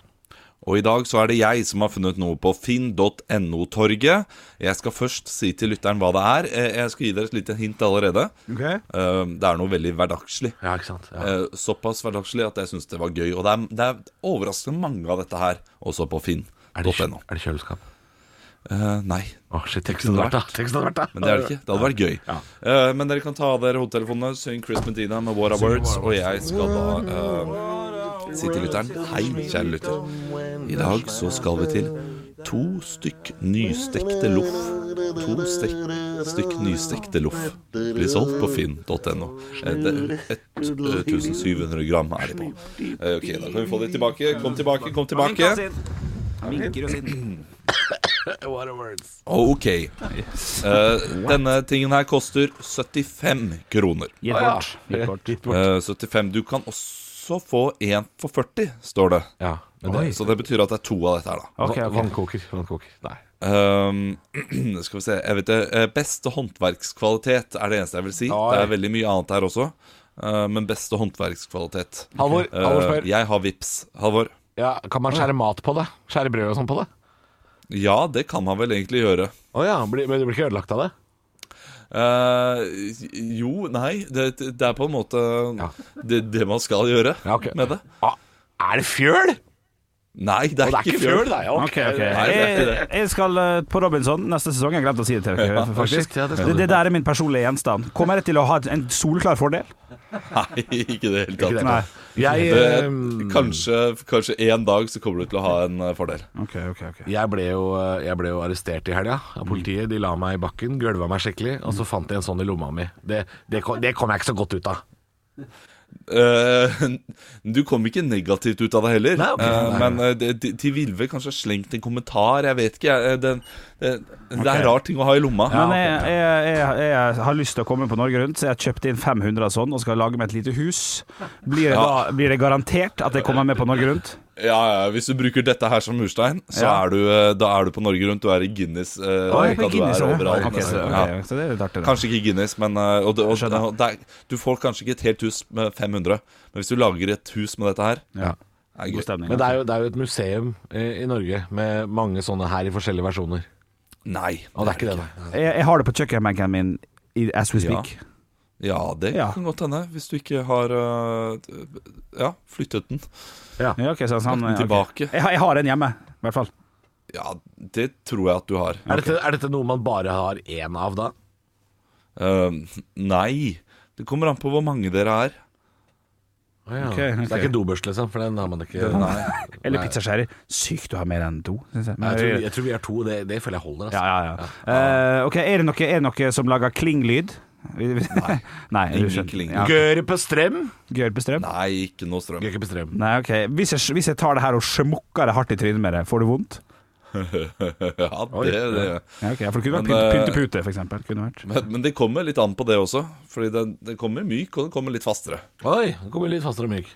Og i dag så er det jeg som har funnet noe på finn.no-torget. Jeg skal først si til lytteren hva det er. Eh, Jeg skal gi dere et lite hint allerede. Ok. Eh, Det er noe veldig hverdagslig. Ja, ikke sant? Ja. Eh, Såpass hverdagslig at jeg syns det var gøy. Og det er, det er overraskende mange av dette her, også på Er, det, finn.no. er det kjøleskap? Eh, Nei. Å, shit. Tenk som det hadde vært, da. Tenk som det hadde vært, da. Men det er det ikke. Det hadde vært gøy. Eh, men dere kan ta av dere hodetelefonene, syng Chris Medina med What Are Words, og jeg skal da eh, si til lytteren Hei, kjære lytter. I dag så skal vi til to stykk nystekte loff. To stek, stykk nystekte loff. Blir solgt på finn.no. Eh, det- et- eh, 1700 gram er de på. Eh, ok, da kan vi få de tilbake. Kom tilbake, kom tilbake. Minker og sinn. Ok. Eh, denne tingen her koster 75 kroner. Gi et kort. Gi et kort. Eh, 75. Du kan også få en for 40, står det. Ja. Men det, Oi. Så det betyr at det er to av dette her, da. Ok, ok. Vannkoker. Vannkoker. Nei. Um, skal vi se jeg vet det, eh, Beste håndverkskvalitet er det eneste jeg vil si. Oi. Det er veldig mye annet her også. eh, men beste håndverkskvalitet. Halvor, Eh, Halvor spør. jeg har vips. Halvor. Ja, kan man skjære mat på det? Skjære brød og sånn på det? Ja, det kan han vel egentlig gjøre. Å ja, blir- men du blir ikke ødelagt av det? Eh, jo, nei det, det er på en måte Ja. det, det man skal gjøre Ja, ok. med det. Ah, er det fjøl? Nei, Og det er, det er ikke fjøl, det er jo Ok, ok. Nei, det er ikke Jeg, jeg skal eh, på Robinson neste sesong. Jeg glemte å si det til dere. faktisk shit, ja, det skal det, du. det der er min personlige gjenstand. Kommer jeg til å ha en solklar fordel? Nei, ikke i det hele tatt. Nei. um, Jeg, Det- ehm, Kanskje, kanskje en dag så kommer du til å ha en eh, fordel. Ok, ok, ok jeg, ble jo, eh, jeg ble jo arrestert i helga av politiet. De la meg i bakken, gølva meg skikkelig, og så fant de en sånn i lomma mi. Det, det, kom, det kom jeg ikke så godt ut av. Eh, du kom ikke negativt ut av det heller. Nei, ok. Eh, men eh, det- de- til Vilve kanskje har slengt en kommentar, jeg vet ikke. jeg, eh, den, det, det er rar ting å ha i lomma. Men jeg, jeg, jeg, jeg har lyst til å komme på Norge Rundt, så jeg har kjøpt inn 500 og sånn og skal lage meg et lite hus. Blir det, Ja. da, blir det garantert at jeg kommer med på Norge Rundt? Ja, ja, Hvis du bruker dette her som murstein, så Ja. er du, eh, da er du på Norge Rundt. Du er i Guinness. eh, Oi, da du Guinness, er ja. overalt, Ok, nesten. så, altså. Ja. ok, så det er litt artig, da. Kanskje ikke Guinness, men eh, og, det- og, skjønner. og det er, Du får kanskje ikke et helt hus med 500, men hvis du lager et hus med dette her Ja. er det God gøy. stemning. Men det er jo, det er jo et museum eh, i Norge med mange sånne her i forskjellige versjoner. Nei. Og det er ikke det, nei. Jeg, jeg har det på kjøkkenbenken min i, as we Ja. speak. Ja, det Ja. kan godt hende. Hvis du ikke har eh, ja, flyttet den. Ja, ok, så sånn, Lagt den ok. tilbake. Jeg, har- jeg har en hjemme, i hvert fall. Ja, det tror jeg at du har. Er, dette, er dette noe man bare har én av, da? Eh, nei. Det kommer an på hvor mange dere er. Å ja. Ok, Så ok. det er ikke dobørste, liksom? For den har man ikke. Nei. Eller pizzaskjærer. Sykt å ha mer enn to, syns jeg. Eh, Jeg, tror, jeg tror vi er to. Det, det føler jeg holder. ja, Altså. ja, ja. Eh, ok, er det noe, er det noe som lager klinglyd? Nei. Nei du Ingen skjønner. kling. Ja. Gøre på strøm? Gørr på strøm? Nei, ikke noe strøm. Gøre på strøm. Nei, ok. Hvis jeg, hvis jeg tar det her og smukker det hardt i trynet med det, får du vondt? ja, det, det. Ja, ok, for det kunne vært pynt, Men, eh, pynt i pute, for eksempel. Kunne vært. Men, men det kommer litt an på det også. Fordi den, den kommer myk, og den kommer litt fastere. Oi, den kommer litt fastere og myk.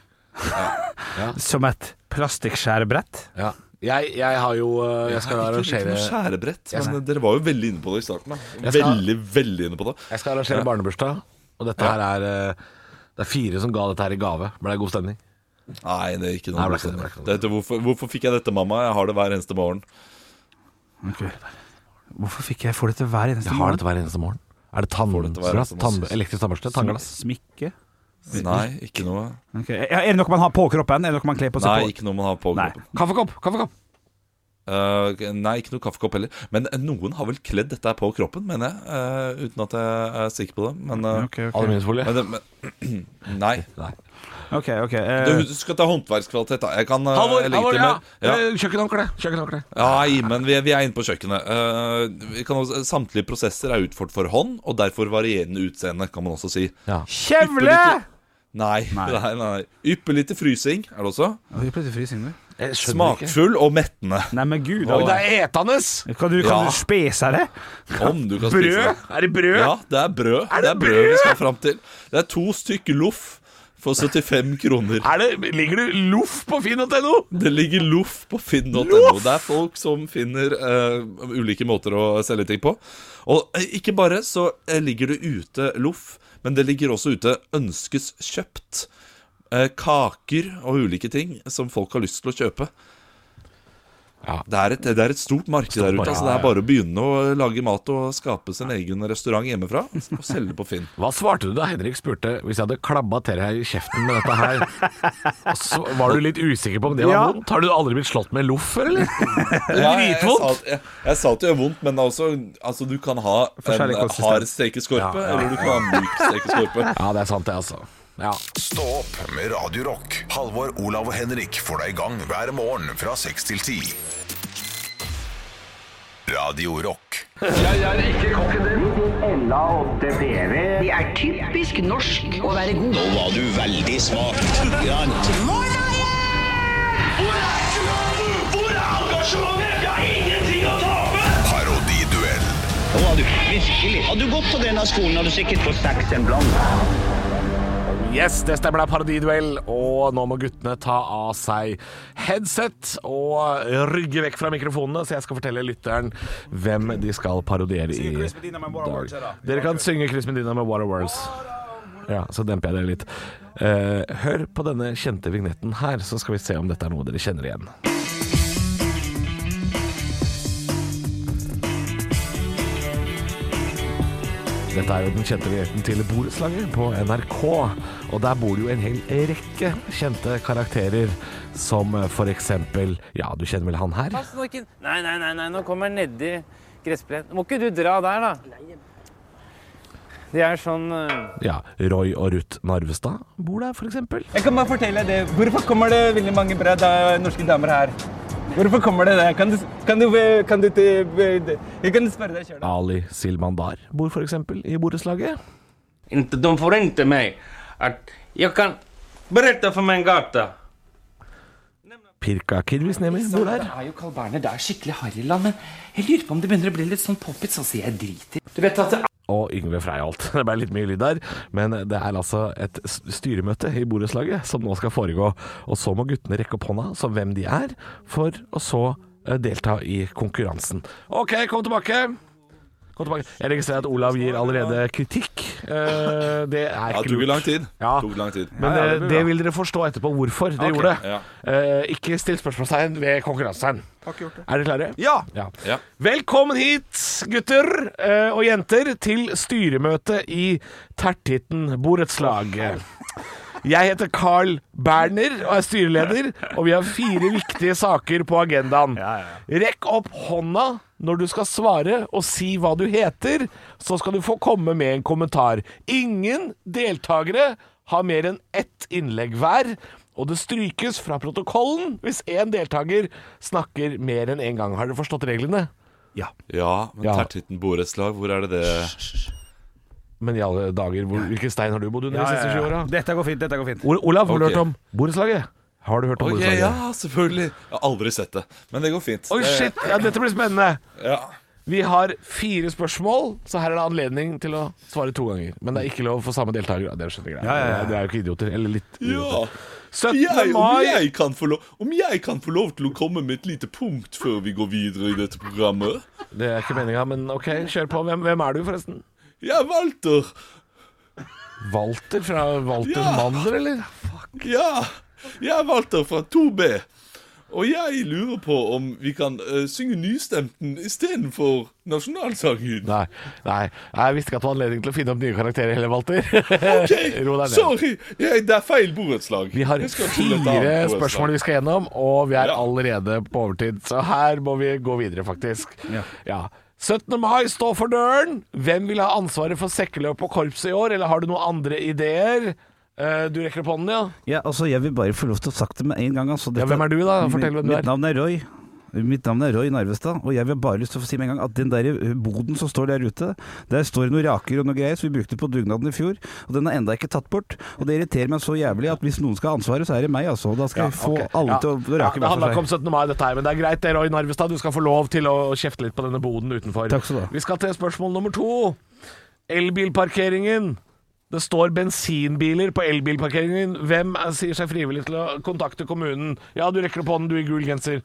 Som et plastikkskjærebrett. Ja. Jeg, jeg har jo eh, Jeg skal Ikke arrangere noe skjærebrett, men dere var jo veldig inne på det i starten. da Jeg skal- Veldig, veldig inne på det. Jeg skal arrangere barnebursdag, og dette her er eh, Det er fire som ga dette her i gave. Ble det god stemning? Nei, det er ikke Nei, det ble ikke noe god det, stemning. det ble ikke Dette, hvorfor, hvorfor fikk jeg dette, mamma? Jeg har det hver eneste morgen. Ok. Hvorfor fikk jeg får det til hver eneste Jeg har dette hver eneste morgen. Er det dette hver tannbrass? eneste Tann, morgen. elektrisk tannbørste? Tannglass? Smikke? Nei, ikke noe Ok. Er- Er det noe man har på kroppen? Er det noe man kler på seg Nei, på? ikke noe man har på Nei. kroppen. Kaffekopp! Kaffekopp! Eh, nei, ikke noe kaffekopp heller. Men eh, noen har vel kledd dette her på kroppen, mener jeg. eh, uten at jeg er sikker på det. Men, eh, Ok, ok. Aluminiumsfolie? men, det- men Nei. Nei. ok, ok, eh, Du, du skal ta håndverkskvalitet, da. Jeg kan eh, Halvor, legge til Halvor, ja! med- ja. Eh, Kjøkkenhåndkle. Kjøkkenhåndkle. Nei, men vi er, vi er inne på kjøkkenet. Eh, vi kan også, samtlige prosesser er utført for hånd, og derfor varierende utseende, kan man også si. Ja. Kjevle! Ypperlig til- Nei, Nei. nei, nei, nei. Ypperlig til frysing er det også. Oi, jeg ble til frysing, du. Jeg skjønner ikke. Smakfull og mettende. Nei, men gud. Oi, da. det er etende! Kan du, kan Ja. du spese det? Om du kan spise Brød? det. Er det brød? Ja, det er brød. det, er brød vi skal fram til. Det er to stykk loff for 75 kroner. Er det, ligger det loff på finn.no? Det ligger loff på finn.no. Loff! Det er folk som finner eh, ulike måter å selge ting på. Og eh, ikke bare så eh, ligger det ute loff, men det ligger også ute ønskes kjøpt. eh, kaker og ulike ting som folk har lyst til å kjøpe. Ja. Det, er et, det er et stort marked der ute. marked, Altså, det er bare å begynne å lage mat og skape sin egen restaurant hjemmefra og selge på Finn. Hva svarte du da Henrik spurte hvis jeg hadde klabba til deg i kjeften med dette her? Og så var du litt usikker på om det var Ja. vondt? Har du aldri blitt slått med loff før, eller? Det er Ja, jeg, jeg, sa dritvondt! at, jeg, jeg sa at det gjør vondt, men det er også, altså, du kan ha en Forskjellig konsistens. hard stekeskorpe, Ja, ja. eller du kan ha en myk stekeskorpe. Ja, det er sant det, altså. Ja. Stå opp med Radio Rock. Halvor, Olav og Henrik får deg i gang hver morgen fra 6 til 10. Radio Rock. Det er typisk norsk å være god. Nå var du veldig smak. Hvor er engasjementet? Jeg har ingenting å tape! Parodiduell. Nå var du virkelig. Hadde du gått på denne skolen, hadde du sikkert fått seks en blant. Yes, det stemmer, det er parodiduell. Og nå må guttene ta av seg headset og rygge vekk fra mikrofonene, så jeg skal fortelle lytteren hvem de skal parodiere i dag. Dere kan synge Chris Medina med What a Words. Ja, så demper jeg dere litt. Eh, hør på denne kjente vignetten her, så skal vi se om dette er noe dere kjenner igjen. Dette er jo den kjente vignetten til Borettslaget på NRK. Og der bor det jo en hel rekke kjente karakterer, som for eksempel Ja, du kjenner vel han her? Pass nå ikke Nei, nei, nei, nei, nå kommer han nedi gressplenen. Må ikke du dra der, da? Det er sånn eh, Ja, Roy og Ruth Narvestad bor der, for eksempel. Jeg kan bare fortelle det. Hvorfor kommer det veldig mange bra da, norske damer her? Hvorfor kommer det det? Kan du, kan du, kan du, jeg kan spørre deg sjøl. Ali Silmandar bor for eksempel i borettslaget. inte, De får inte mig att... Jag kan... Berätta för mig en gata. Pirka Kirvisnemi bor der. er jo Carl Berner, det er skikkelig harryland, men jeg lurer på om det begynner å bli litt sånn poppet, så sier jeg driter. Du vet at det Og Yngve Freiholt. Det ble litt mye lyd der, men det er altså et s- styremøte i borettslaget som nå skal foregå. Og så må guttene rekke opp hånda som hvem de er, for å så eh, delta i konkurransen. OK, kom tilbake. Kom tilbake. Jeg registrerer at Olav gir allerede kritikk. Eh, Det er ikke Ja, det tok jo lurt. lang tid. Ja. Tok lang tid. Men eh, det, vil dere forstå etterpå hvorfor det gjorde det. ja. Eh, ikke still spørsmålstegn ved konkurransetegn. Er dere klare? Ja! Ja. Velkommen hit, gutter eh, og jenter, til styremøte i Tertitten borettslag. Jeg heter Carl Berner og er styreleder, og vi har fire viktige saker på agendaen. Rekk opp hånda når du skal svare og si hva du heter, så skal du få komme med en kommentar. Ingen deltakere har mer enn ett innlegg hver, og det strykes fra protokollen hvis én deltaker snakker mer enn én en gang. Har dere forstått reglene? ja, men Ja. Tertitten borettslag, hvor er det det Men i alle dager, hvor, hvilken stein har du bodd under de siste 20 åra? Dette går fint, dette går fint. Olav, har du Ok. hørt om borettslaget? Har du hørt om Ok, Motorsaga? ja, selvfølgelig. Jeg har aldri sett det, men det går fint. Oi, Det- shit! Ja, dette blir spennende. Ja. Vi har fire spørsmål, så her er det anledning til å svare to ganger. Men det er ikke lov for samme deltaker. Det skjønner jeg. Ja, ja, ja. Det er jo ikke idioter. Eller litt idioter. ja. 17. Jeg, om, mai jeg kan få lov, om jeg kan få lov til å komme med et lite punkt før vi går videre i dette programmet? Det er ikke meninga, men ok, kjør på. Hvem, hvem er du, forresten? Jeg er Walter. Walter fra Walter Ja. Mander, eller? Ja, jeg er Walter fra 2B. Og jeg lurer på om vi kan eh, synge nystemten istedenfor nasjonalsangen. Nei, nei, jeg visste ikke at det var anledning til å finne opp nye karakterer heller, Walter. Ok, Ro deg ned. sorry! Jeg, det er feil borettslag. Vi har Jeg skal til et fire annet borettslag. spørsmål vi skal gjennom, og vi er Ja. allerede på overtid. Så her må vi gå videre, faktisk. Ja. 17. mai står for døren. Hvem vil ha ansvaret for sekkeløp og korpset i år, eller har du noen andre ideer? Eh, Du rekker opp hånden, ja? Ja, altså, jeg vil bare få lov til å sagt det med en gang. Altså, Ja, hvem er du da? Fortell Mitt- hvem du er. Mitt navn er Roy. Mitt navn er Roy Narvestad, og jeg vil bare lyst til å få si med en gang at den der eh, boden som står der ute, der står det noen raker og noe greier som vi brukte på dugnaden i fjor, og den er enda ikke tatt bort. Og det irriterer meg så jævlig at hvis noen skal ha ansvaret, så er det meg, altså. Og Da skal jeg få ok. alle Ja. til å Ja, rake Det handler hver ikke for om seg. 17. mai, dette her, men det er greit, det, Roy Narvestad. Du skal få lov til å kjefte litt på denne boden utenfor. Takk skal du ha. Vi skal til spørsmål nummer to. Elbilparkeringen. Det står bensinbiler på elbilparkeringen. Hvem er, sier seg frivillig til å kontakte kommunen? Ja, du rekker opp hånden, du i gul genser.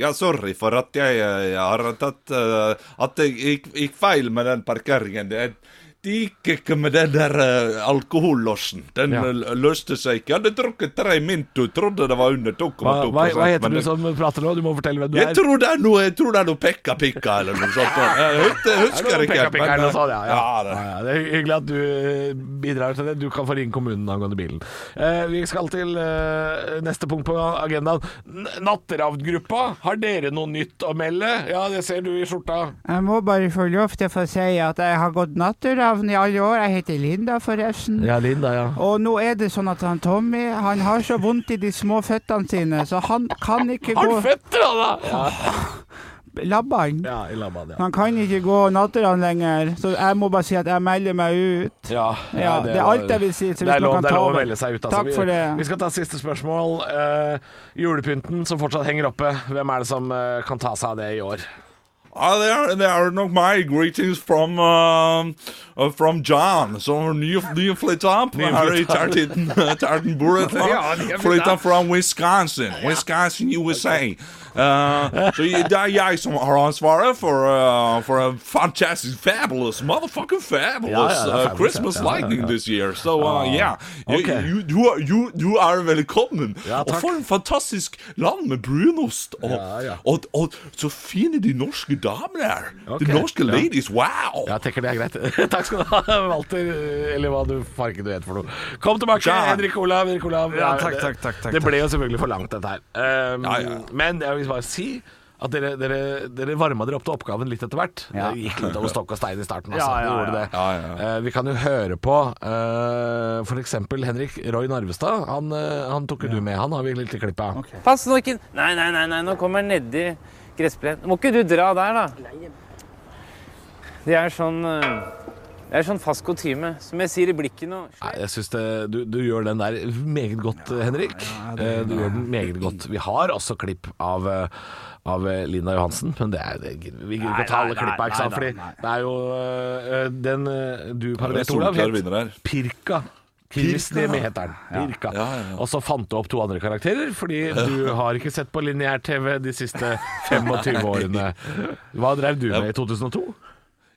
Ja, sorry for at jeg, eh, har tatt eh, At jeg gikk, gikk feil med den parkeringen. Det, det gikk ikke med den der eh, alkohollosjen. Den Ja. eh, løste seg ikke. Jeg hadde drukket tre Minto, trodde det var under 2,2 Hva, hva, hva men heter du det- som prater nå? Du må fortelle hvem du Jeg er. tror det er noe Jeg tror det er noe Pekka Pikka eller noe sånt. Jeg husker, jeg Er det noen husker ikke. eh, pekapikk her nå, sa jeg? ja, ja. det- Ja, ja, det er hyggelig at du eh, bidrar til det. Du kan få ringe kommunen angående bilen. Eh, vi skal til eh, neste punkt på agendaen. N- Natteravngruppa, har dere noe nytt å melde? Ja, det ser du i skjorta. Jeg må bare få lov til å få si at jeg har gått natteravn i alle år. Jeg heter Linda, forresten. Ja, Linda, ja. Og nå er det sånn at han Tommy han har så vondt i de små føttene sine, så han kan ikke Har du gå føtter, da? Ja, Labban. ja i labbaen, ja. Han kan ikke gå natteravn lenger, så jeg må bare si at jeg melder meg ut. Ja, Ja, det er alt jeg vil si. Så Det hvis er lov, man det kan er ta lov å over melde seg ut. altså. Takk Vi- for det. Vi skal ta siste spørsmål. Eh, julepynten som fortsatt henger oppe. Hvem er det som eh, kan ta seg av det i år? Ja, det er, det er nok meg. Greetings from, uh, uh, from John, som er ny, nyflytta opp her i Tartan Tartan Ja, nyflyttet. Burrata. Flytta fra Wisconsin, Wisconsin, USA. Uh, så det er jeg som har ansvaret for, uh, for a fantastic, fabulous, motherfucking fabulous Ja, ja, det er uh, fabulous, Christmas ja, ja, ja, lightning ja. this year. So, Oh, uh, yeah. You, ok. you, du, er- you, du er velkommen. Ja, og takk. for en fantastisk land med brunost. Og, Ja, ja. og, og så fine de norske damene er. Ok, De norske ja. ladies, wow! Jeg tenker det er greit. Takk skal du ha, Walter. Eller hva du farken du heter for noe. Kom tilbake, Ja. Henrik Olav. Henrik Olav. Ja, Nei, takk, det- takk, takk, takk, Det takk. ble jo selvfølgelig for langt, dette her. Um, Ja, ja. Men jeg vil bare si at dere, dere, dere varma dere opp til oppgaven litt etter hvert. Ja. Det gikk litt over stokk og stein i starten. Altså. Ja, ja, Det gjorde det. ja. Ja, Eh, vi kan jo høre på eh, For f.eks. Henrik Roy Narvestad. Han, eh, han tok jo du med, han har vi et lite klipp av. Pass nå ikke Nei, nei, nei, nei nå kommer jeg nedi gressplenen. Må ikke du dra der, da? Det er sånn eh, Det er sånn fast kutyme. Som jeg sier i blikket nå. Nei, jeg synes det, du, du gjør den der meget godt, Henrik. Eh, du gjør den meget godt. Vi har også klipp av, eh, av eh, Lina Johansen, men det er, det, gidder- vi gidder ikke å ta Nei, alle nei, klippa, ikke nei, sant? nei, Fordi nei. det er jo eh, den eh, du Det er parodierte, Olav, solklar het vinner her. Pirka. Kirstnemi heter den. Pirka. Ja, ja, ja. Og så fant du opp to andre karakterer, fordi du har ikke sett på lineær-TV de siste 25 årene. Hva drev du med i 2002?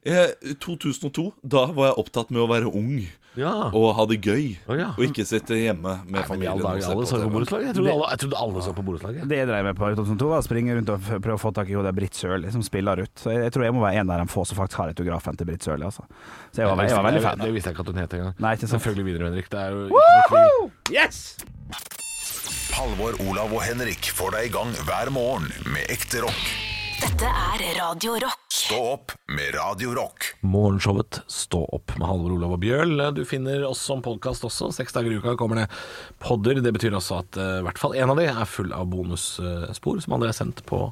I 2002, da var jeg opptatt med å være ung Ja. og ha det gøy. Å, ja. Og ikke sitte hjemme med Men i familien. alle og se dager, alle på så på TV. borettslaget? Jeg trodde alle, jeg trodde alle så på borettslaget. Det jeg drev med på i 2002, var å springe rundt og f- prøve å få tak i hun der Britt Sørli som spiller ut. Så jeg, jeg tror jeg må være en av de få som faktisk har autografen til Britt Sørli, altså. Så jeg var, jeg var veldig fan. Det visste jeg ikke at hun het engang. Nei, ikke sant. Selvfølgelig vinner du, Henrik. Det er jo ikke noe tvil. Halvor, Olav og Henrik får deg i gang hver morgen med ekte rock. Dette er Radio Rock. Stå opp med Radio Rock. Morgenshowet Stå opp med Halvor Olav og Bjørl. Du finner oss som podkast også. Seks dager i uka kommer det podder. Det betyr også at eh, i hvert fall én av eh, de er full av bonusspor som aldri er sendt på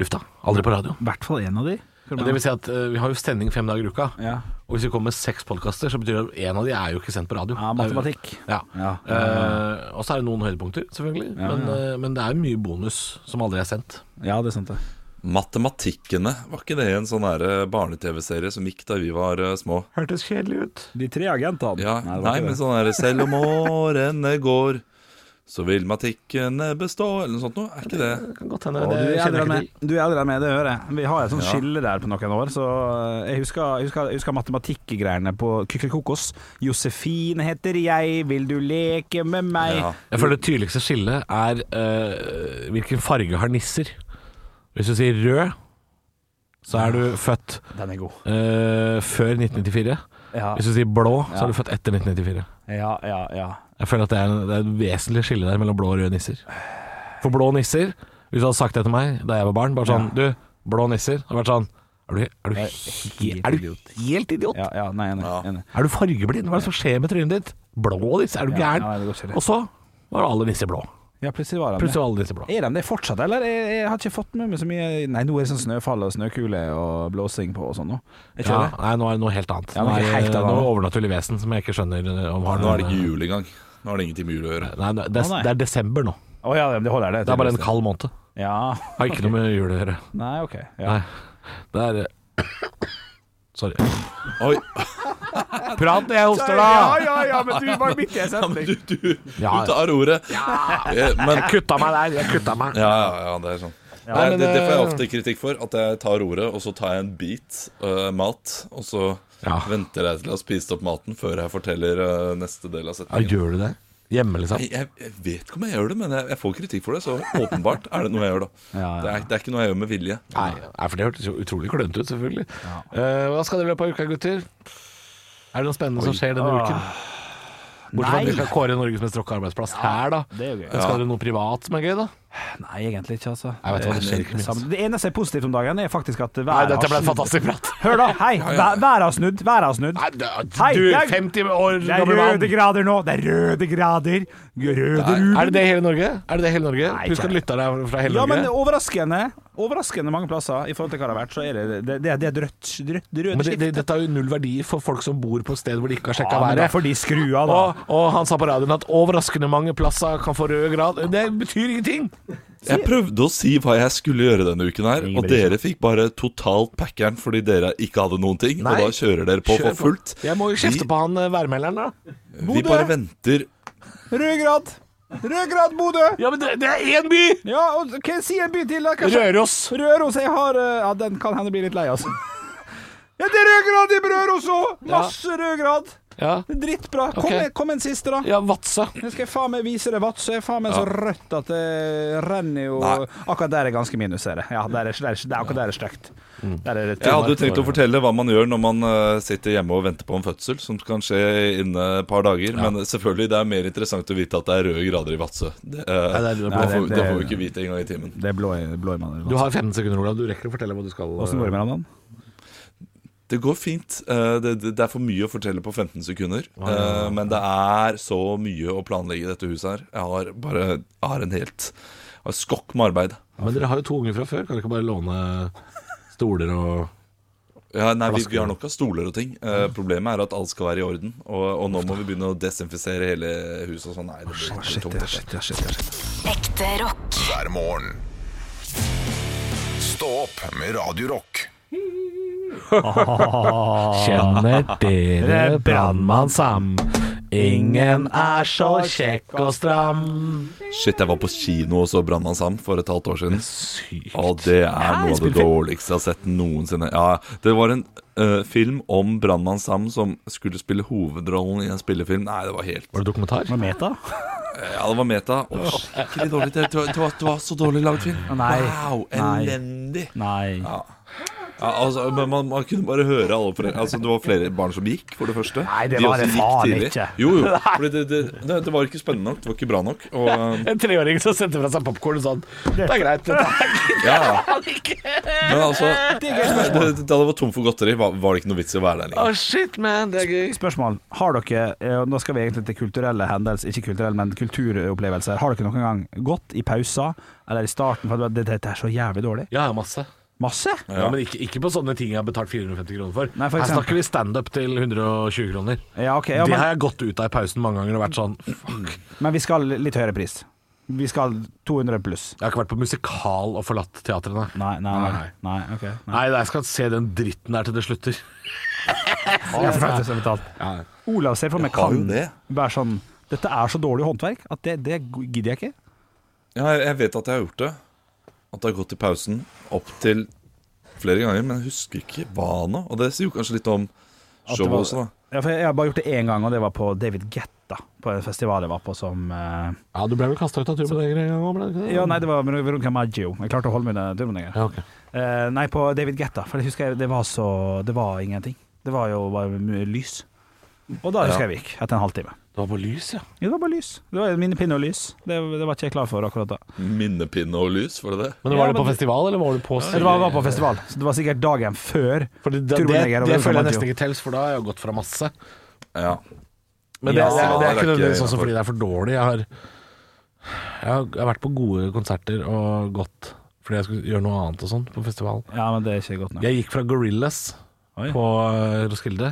lufta. Aldri på radio. I hvert fall en av de. Hva Det vil si at eh, vi har jo sending fem dager i uka. Ja. Og hvis vi kommer med seks podkaster, så betyr det at én av de er jo ikke sendt på radio. Ja, matematikk. Ja. Ja. Eh, og så er det noen høydepunkter, selvfølgelig. Ja, men, ja. eh, men det er mye bonus som aldri er sendt. Ja, det er sant, det. Matematikkene, var ikke det en sånn her, eh, barne-TV-serie som gikk da vi var eh, små? Hørtes kjedelig ut. De tre agentene. Ja, Nei, nei, det var ikke men det. sånn her Selv om årene går, så vil matikkene bestå Eller noe sånt noe, er ikke det? Kan godt hende. Og Det du er kjenner eldre jeg enn ikke meg, til. Du er eldre enn meg, det hører jeg. Vi har et sånt Ja. skille der på noen år. Så eh, jeg husker, jeg husker, jeg husker matematikkgreiene på Kykelikokos. 'Josefine heter jeg, vil du leke med meg?' Ja. Jeg føler det tydeligste skillet er eh, hvilken farge har nisser. Hvis du sier rød, så er du født Den er god. eh, før 1994. Ja, Hvis du sier blå, så Ja. er du født etter 1994. ja, ja. ja. Jeg føler at det er, en- det er et vesentlig skille der mellom blå og røde nisser. For blå nisser Hvis du hadde sagt det til meg da jeg var barn, bare sånn Du, blå nisser. Det hadde vært sånn Er du, er du, he, helt er du idiot. helt idiot? ja, ja nei, enig. Ja. enig. Er du fargeblind? Hva er det som skjer med trynet ditt? Blå nisser? Er du Ja, gæren? ja, det går ikke det. og så var alle nisser blå. Ja, plutselig var han Plutselig det. var alle nisser blå. Er de det fortsatt, eller? Jeg, jeg har ikke fått med meg så mye Nei, nå er det sånn snøfall og snøkule og blåsing på og sånn nå. Er ikke Ja, det? nei, nå er det noe helt annet. Ja, nå noe er helt det annet. noe overnaturlig vesen som jeg ikke skjønner eh, om har Nå er noe- det ikke jul engang. Nå har det ingenting med jul å gjøre. Nei, det, er, Å, nei. det er desember nå. Å ja, det holder det. Det er bare en kald måned. Ja. Har ikke noe med jul å gjøre. Nei, OK. Ja. Nei. Det er eh, Sorry. Oi, Prat når jeg hoster, Ja, da! ja, ja, men du var midt i en setning. Ja, du tar ordet! Eh, Men Jeg kutta meg der. Jeg kutta meg. Ja, ja, ja, det er sånn. Nei, det, det får jeg ofte kritikk for. At jeg tar ordet, og så tar jeg en bit øh, mat. Og så Ja. venter jeg til jeg har spist opp maten før jeg forteller øh, neste del av Ja, setningen. gjør du det? Hjemme, liksom? Nei, jeg, jeg vet ikke om jeg gjør det, men jeg, jeg får kritikk for det. Så åpenbart er det noe jeg gjør, da. Ja, ja. Det, er, det er ikke noe jeg gjør med vilje. Nei, nei, for det hørtes jo utrolig klønete ut, selvfølgelig. Eh, hva skal dere i løpet av uka, gutter? Ah. Er det noe spennende som skjer denne uken? Bortsett fra at Nei. vi skal kåre Norges mest rocka arbeidsplass her, da. det er jo gøy. Men Skal dere noe privat som er gøy, da? Nei, egentlig ikke, altså. Jeg vet hva, det skjer ikke mye, Det, altså. det eneste som er positivt om dagen, er faktisk at været Nei, dette ble har en snudd. fantastisk prat. Hør, da! Hei! vær- Været har snudd. Været har snudd. Nei, du, Hei, du jeg- 50 år Det er gammel røde mann. grader nå! Det er røde grader! Røde ruben. Er det det i hele Norge? Er det det i hele Norge? Nei, Husk ikke at lytterne er fra hele Ja, men Norge. overraskende Overraskende mange plasser i forhold til hva det har vært, så er det Det, det, det er et rødt, rødt, rødt Men det, det, skift. dette har jo null verdi for folk som bor på et sted hvor de ikke har sjekka Ja, men det er været. fordi skrua, da. Og, og han sa på radioen at overraskende mange plasser kan få rød grad. Det betyr ingenting! Jeg prøvde å si hva jeg skulle gjøre denne uken her, Ingen og bryr seg. dere fikk bare totalt packeren fordi dere ikke hadde noen ting. Nei. Og da kjører dere på Kjør for fullt. Jeg må jo Vi- kjefte på han eh, værmelderen, da. Vi bare venter Rød grad! Rød grad, Bodø! Ja, men det, det er én by! Ja, og hva sier en by til, da? Kanskje- Røros. Røros, jeg har eh, Ja, den kan hende bli litt lei, altså. Ja, det er rød grad i Røros òg! Masse rød grad. Ja, Det er Drittbra. Kom, Ok. med, kom med en siste, da. ja Vadsø. Nå skal jeg faen meg vise deg Vadsø. Jeg er faen meg så rødt at det renner jo Nei. Akkurat der er ganske minus, ser jeg. Ja, der er, der er, der, akkurat der er stygt. Der er det Jeg hadde jo tenkt å Finnmark. fortelle hva man gjør når man eh, sitter hjemme og venter på en fødsel, som kan skje innen et par dager. Men eh, selvfølgelig, det er mer interessant å vite at det er røde grader i Vadsø. Nei, Det, eh, det er- det er- det, Nei, får, det- det får vi det- ikke vite engang i timen. Det er blå, blå i mannen. Du har 15 sekunder, Olav. Du rekker å fortelle hva du skal. Åssen går det med den? Det går fint. Eh, Det, det, det er for mye å fortelle på 15 sekunder. Eh, Men det er så mye å planlegge i dette huset her. Jeg har bare jeg har en helt jeg har skokk med arbeid. Men dere har jo to unger fra før. Kan dere ikke bare låne stoler og Ja, nei, vi, Flasker. vi har nok av stoler og ting. Eh, problemet er at alt skal være i orden. Og, og nå må vi begynne å desinfisere hele huset. Og sånn. Nei, det blir, det blir tungt. dette. Ekte rock. hver morgen. Stå opp med Radio Rock. Kjenner dere brannmann Sam? Ingen er så kjekk og stram. Shit, jeg var på kino og så Brannmann Sam for et halvt år siden. Sykt. Og det er noe av det dårligste jeg har sett noensinne. Ja, Det var en eh, film om Brannmann Sam som skulle spille hovedrollen i en spillefilm. Nei, det var helt Var det dokumentar? Med meta? Ja, det var meta. Å, skikkelig dårlig. Det, det, var, det, var, det var så dårlig lagd film. Nei. Wow, Nei. elendig. Nei. Ja, altså, men man, man kunne bare høre alle foreldre Altså, det var flere barn som gikk, for det første. Nei, det De var også det gikk faen tidlig. ikke. Jo, jo. Fordi det, det, det, det var ikke spennende nok. Det var ikke bra nok. Og, eh, En treåring som sendte fra seg popkorn og sånn Det er greit, dette er ja, ja. Men altså det, det- Da det var tom for godteri, var, var det ikke noe vits i å være der lenger. shit, man, det er gøy. Spørsmål. Har dere, eh, nå skal vi egentlig til kulturelle hendelser, ikke kulturelle, men kulturopplevelser. Har dere noen gang gått i pauser eller i starten for at dette er så jævlig dårlig? Ja, masse. Masse? Ja, Men ikke, ikke på sånne ting jeg har betalt 450 kroner for. Nei, for Her eksempel. snakker vi standup til 120 kroner. Ja, ok, ja, det men- har jeg gått ut av i pausen mange ganger og vært sånn Fuck. Men vi skal litt høyere pris. Vi skal 200 pluss. Jeg har ikke vært på musikal og forlatt teatret, nei. Nei, nei, nei. nei. ok. Nei, nei, jeg skal se den dritten der til det slutter. Jeg får faktisk ha betalt. Olav ser for meg Jeg har jo kan det. være sånn Dette er så dårlig håndverk at det, det gidder jeg ikke. Ja, jeg- jeg vet at jeg har gjort det. At det har gått i pausen opp til flere ganger, men jeg husker ikke hva nå. Og det sier jo kanskje litt om At det showet var- også, da. Ja, for jeg har bare gjort det én gang, og det var på David Getta. På en festival jeg var på som eh, Ja, du ble vel kasta ut av turboen en gang Ja, nei, det var med Veronica Maggio. Jeg klarte å holde meg under turboen. Ja, ok. Eh, nei, på David Getta, for det husker jeg det var så Det var ingenting. Det var jo bare mye lys. Og da husker jeg Ja. vi gikk, etter en halvtime. Det var på lys, ja. Ja, det var bare lys. Det var minnepinne og lys. Det, det var ikke jeg klar for akkurat da. Minnepinne og lys, var det det? Men Ja, var det men på det- festival, eller var det på Det var, var på festival, så det var sikkert dagen før. For det, det, det, Turboneger og det Veronica føler jeg Maggio. nesten ikke tels, for da har jeg jo gått fra masse. Ja. Men det, Ja, det, det, det er er ikke nødvendigvis ikke sånn innenfor. som fordi det er for dårlig. Jeg har, jeg har, jeg har vært på gode konserter og gått fordi jeg skulle gjøre noe annet og sånn på festival. Ja, men det er ikke godt nok. Jeg gikk fra Gorillas på eh, Roskilde.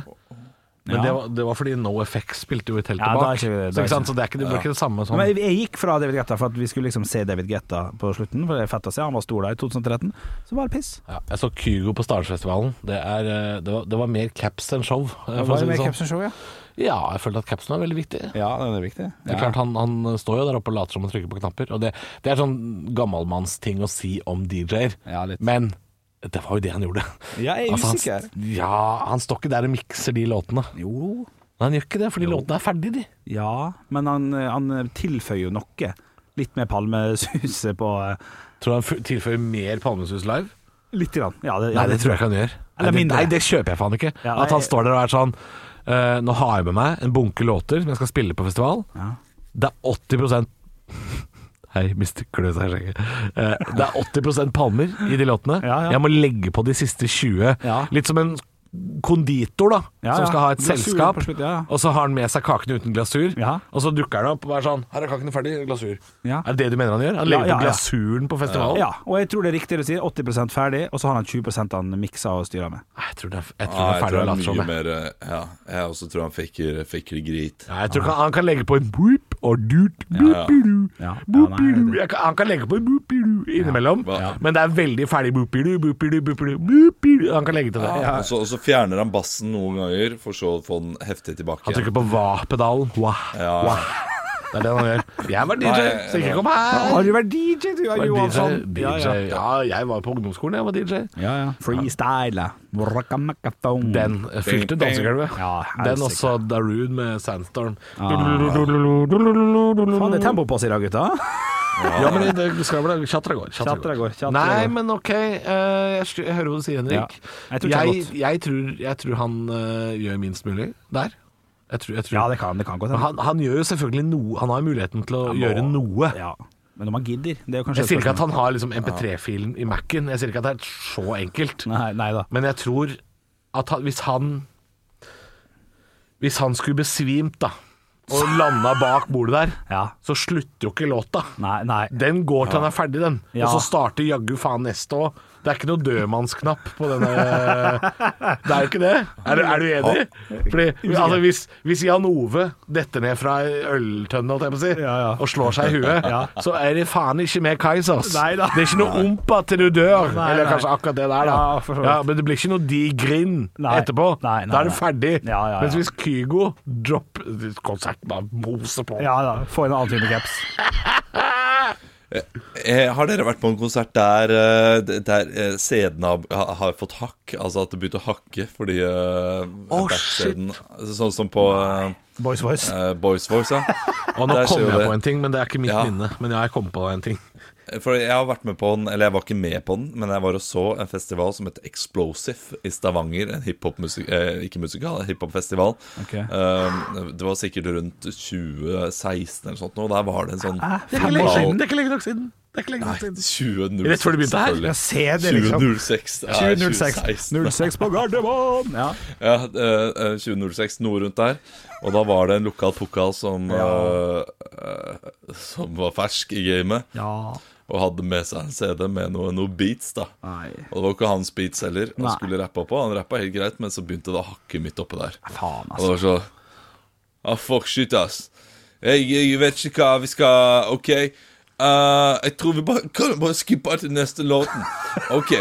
Men Ja. det, var, det var fordi No Effects spilte jo i teltet Ja, da er bak. ikke det- da så, er ikke sant? ikke- så det, er ikke, det var Ja. ikke det samme sånn. Men jeg, jeg gikk fra David Getta for at vi skulle liksom se David Getta på slutten. For det er fett å se, Han var stor da i 2013. Så var det piss. Ja, jeg så Kygo på Starsfestivalen. Det, er, eh, det, var, det var mer caps enn show. eh, for å Det var si jo det med sånn. Capson Show, ja. Ja, jeg følte at capsen var veldig viktig. Ja, den er viktig. Det er klart, han, han står jo der oppe og later som han trykker på knapper. Og det, det er sånn gammalmannsting å si om DJ-er. Men det var jo det han gjorde. Altså, Ja, jeg er usikker. Han, ja, han står ikke der og mikser de låtene. Jo. Men han gjør ikke det, fordi låtene er ferdige, de. Ja, men han, han tilføyer jo noe. Litt mer palmesuset på eh, Tror du han f- tilføyer mer palmesus live? Litt. Grann. Ja, det, ja, Nei, det tror jeg ikke han gjør. Eller nei, det, mindre. nei, det kjøper jeg faen ikke. Ja, nei, At han står der og er sånn eh, Nå har jeg med meg en bunke låter som jeg skal spille på festival. Det er 80 Hei, Mr. Kløs her, skjegget. Eh, det er 80 palmer i de låtene. ja. Jeg må legge på de siste 20. Ja. Litt som en konditor, da. Ja, som ja. skal ha et Glasur selskap, på slutt, ja, ja. og så har han med seg kakene uten glasur. Ja. Og så dukker han opp og er sånn Her er kakene ferdig, glasur. Ja. Er det det du mener han gjør? Han Ja, legger ja, på ja. glasuren på festivalen? Ja, og jeg tror det er riktig det du sier. 80 ferdig, og så har han 20 han mikser og styrer med. Jeg tror det er, jeg tror det Ja, er jeg ferdig å tror late det som. er mye jeg. mer eh, Ja, jeg også tror han faker, faker grit. Ja, jeg tror ikke han, han kan legge på en boop og dut, boop-i-du, boop-i-du. Jeg kan- Han kan legge på en boop-i-du innimellom, men det er veldig ferdig boop-i-du, boop-i-du, boop-i-du, boop-i-du. Han kan legge til det. Og så- og så fjerner han bassen noen ganger, for så å få den heftig tilbake. Han trykker på hva-pedalen. Wah, Ja. wah. Det er det han gjør. Jeg var DJ, Nei, så ikke ja. kom her. Har du vært DJ, du, Jeg var Johansson? DJ, Ja, DJ. ja. Ja, jeg var på ungdomsskolen, jeg var DJ. Ja, ja. Freestyle. Den eh, fylte dansegulvet. Ja, Den også Darude med Sandstorm. Faen, det er tempo på oss i dag, gutta. Ja, men det- det skal vel Chatter går. tjatra Tjatra går, tjatra Nei, går. men ok. eh, jeg, skj- jeg hører hva du sier, Ja. Henrik. Jeg tror Jeg, det er jeg, godt. tror, jeg tror han eh, gjør minst mulig der. Jeg tror, jeg tror. Ja, det kan, det kan gå Men til. han, han gjør jo selvfølgelig noe. Han har jo muligheten til å Han må- gjøre noe. Ja. Men om han gidder, det er jo kanskje Jeg sier ikke at han har liksom MP3-filen i Mac-en. Jeg sier ikke at det er så enkelt. Nei, nei da. Men jeg tror at han, hvis han Hvis han skulle besvimt, da, og landa bak bordet der, Ja. så slutter jo ikke låta. Nei, nei. Den går til han er ferdig, den. Ja. Og så starter jaggu faen neste òg. Det er ikke noe dødmannsknapp på denne Det er jo ikke det. Er, du- er du enig? Fordi, altså, hvis, hvis Jan Ove detter ned fra ei øltønne holdt jeg på å si, ja. og slår seg i huet, så er det faen ikke med Kaizers. Nei da. Det er ikke noe ompa til du dør. Nei, Eller nei. kanskje akkurat det der, da. Ja, for så vidt. Ja, men det blir ikke noe digg grind Nei. etterpå. Nei, nei, da er du nei. ferdig. Ja, ja, ja. Mens hvis Kygo dropper konserten, bare moser på. Ja da. Få en annen type caps. Eh, har dere vært på en konsert der, eh, d- der eh, sædene har, ha- har fått hakk? Altså at det begynte å hakke fordi uh, Åh, shit. Sånn som på eh, Boys Voice. eh, Boys Voice, ja. Og nå Der kom skjer jo jeg det. på en ting, men det er ikke mitt Ja. minne. Men ja, jeg kom på en ting. For jeg har vært med på den, eller jeg var ikke med på den, men jeg var og så en festival som het Explosive i Stavanger. En hiphop-musikal, eh, ikke musikal, en hiphop-festival. Ok. Eh, det var sikkert rundt 2016 eller sånt nå. Der var det en sånn Det er ikke lenge siden! Det er ikke lenge nok siden. Det er ikke lenge nok siden. 2006, Rett før det begynte her? selvfølgelig. Ja, se det, liksom. 2006. ja, 2006. 06 på Gardermoen! Ja. Ja, eh, eh, 2006, noe rundt der. Og da var det en lokal pokal som, eh, eh, som var fersk i gamet. ja. Og hadde med seg en CD med noe, noe beats, da. Og det var ikke hans beats heller. Han Nei. skulle rappe oppå. Han rappa helt greit, men så begynte det å hakke midt oppe der. Faen, altså. Og det var så Ah, fuck shit, ass. Jeg, jeg vet ikke hva vi skal OK. eh, jeg tror vi bare kan vi bare skippe til neste låten. OK.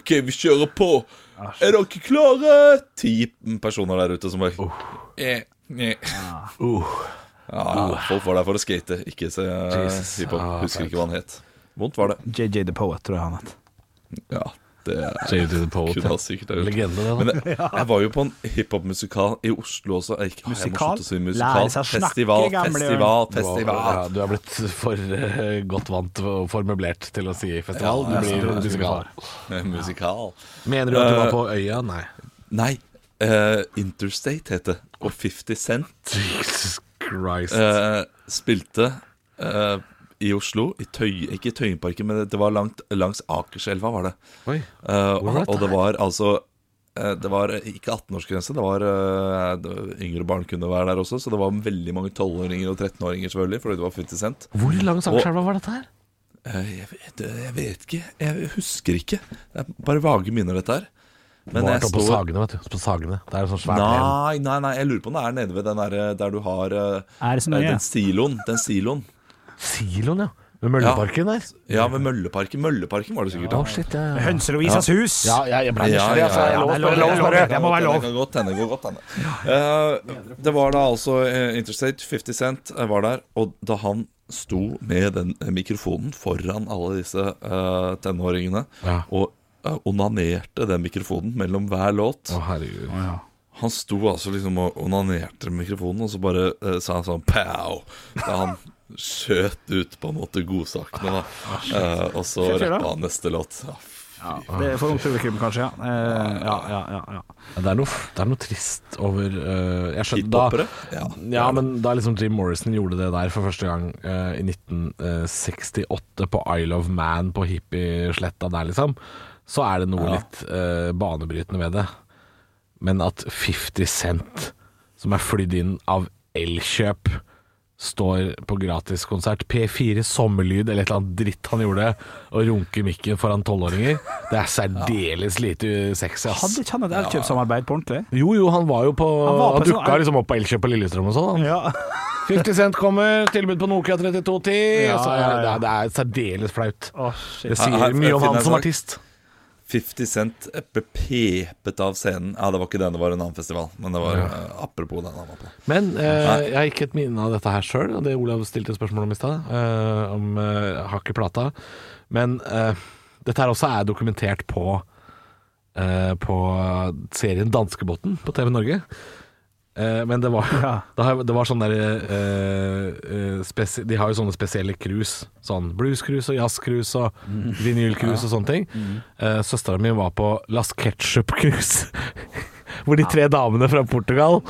OK, vi kjører på. Ah, Er dere klare? Ti personer der ute som bare Oh. eh, eh. Ja, Folk var der for å skate, ikke se eh, Ah. Jesus. hiphop. Ah, Husker fælt. ikke hva han het. Vondt var det. JJ The Poet, tror jeg han het. Ja, det J.D. The Poet, kunne ja. han sikkert ha gjort. Legende, det, da. Men jeg, jeg var jo på en hiphop-musikal i Oslo også. Jeg, gikk- jeg må Musikal? slutte å si Lære musikal. seg å snakke, Festival, gamle festival, Jørn. festival. Du har- ja, Du er blitt for eh, godt vant og for møblert til å si festival. Ja, du jeg blir er musikal. Eh, Musikal. Mener du at du var Eh, på øya? Nei. Nei. eh, Interstate het det. Og 50 Cent Jesus Christ. eh, spilte eh, i Oslo. I Tøy, ikke i Tøyenparken, men det var langt, langs Akerselva, var det. Oi. Eh, Hvor var og, og det var altså eh, det var ikke 18-årsgrense, det var eh, det- yngre barn kunne være der også. Så det var veldig mange 12-åringer og 13-åringer, selvfølgelig, fordi det var 50 Cent. Hvor langs Og- Akerselva var dette her? Eh, Jeg vet, jeg vet ikke. Jeg husker ikke. Det er bare vage minner, dette her. Men Var jeg det oppe på står Sagene, vet du. På Sagene. Det er en sånn svær plen. Nei, nei, nei, jeg lurer på om det er nede ved den der, der du har eh, Er det så nøye? den siloen. Den siloen. Siloen, ja. Ved Mølleparken der. Ja, ved Mølleparken. Mølleparken var det sikkert. Å, shit, ja, ja. Hønselovisas Ja. hus. Ja, ja, jeg ble nysgjerrig, altså. Jeg lov- Det er lov- lov- det det må være lov. kan godt hende, det kan godt hende. Eh, Det var da altså eh, Interstate, 50 Cent eh, var der, og da han sto med den eh, mikrofonen foran alle disse eh, tenåringene Ja. og eh, onanerte den mikrofonen mellom hver låt Han sto altså liksom og onanerte med mikrofonen, og så bare eh, sa han sånn pow! Da han skjøt ut på en måte godsakene, da. Ah, Eh, og så Fy fjellet. rappa han neste låt. Ah, Ja, Det er for ungt publikum, kanskje. Ja. Eh, ja, ja, ja, ja. Ja, Det er, noe, det er noe trist over eh, Jeg skjønner Hiphopere? Ja, men da liksom Jim Morrison gjorde det der for første gang eh, i 1968 på Isle of Man på hippiesletta der, liksom, så er det noe Ja. litt eh, banebrytende ved det. Men at 50 Cent, som er flydd inn av Elkjøp, står på gratiskonsert P4 Sommerlyd eller et eller annet dritt han gjorde, og runker mikken foran tolvåringer, det er særdeles lite sexy, ass. Hadde ikke han et elkjøpssamarbeid på ordentlig? Jo, jo, han var jo på Han var på Han dukka sånn- liksom opp på Elkjøp på Lillestrøm og sånn. han. Ja. 50 Cent kommer, tilbud på Nokia 3210. Ja, altså, ja, ja. Det, er, det er særdeles flaut. det Her- sier her- mye jeg om finner han en som sak. artist. 50 Cent ble pepet av scenen. Ja, det var ikke den, det var en annen festival. Men det var eh, apropos den han var på. Men eh, Nei. jeg har ikke et minne av dette her sjøl, og det Olav stilte spørsmål om i stad, eh, om eh, hakk i plata. Men eh, dette her også er dokumentert på eh, På serien Danskebåten på TV Norge. Eh, men det var, det har- det var sånn der eh, eh, spesi- De har jo sånne spesielle cruise. Sånn blues-cruise og jazz-cruise og Mm. vinyl-cruise og sånne ting. Eh, Søstera mi var på Las Ketchup-cruise. Hvor de tre damene fra Portugal,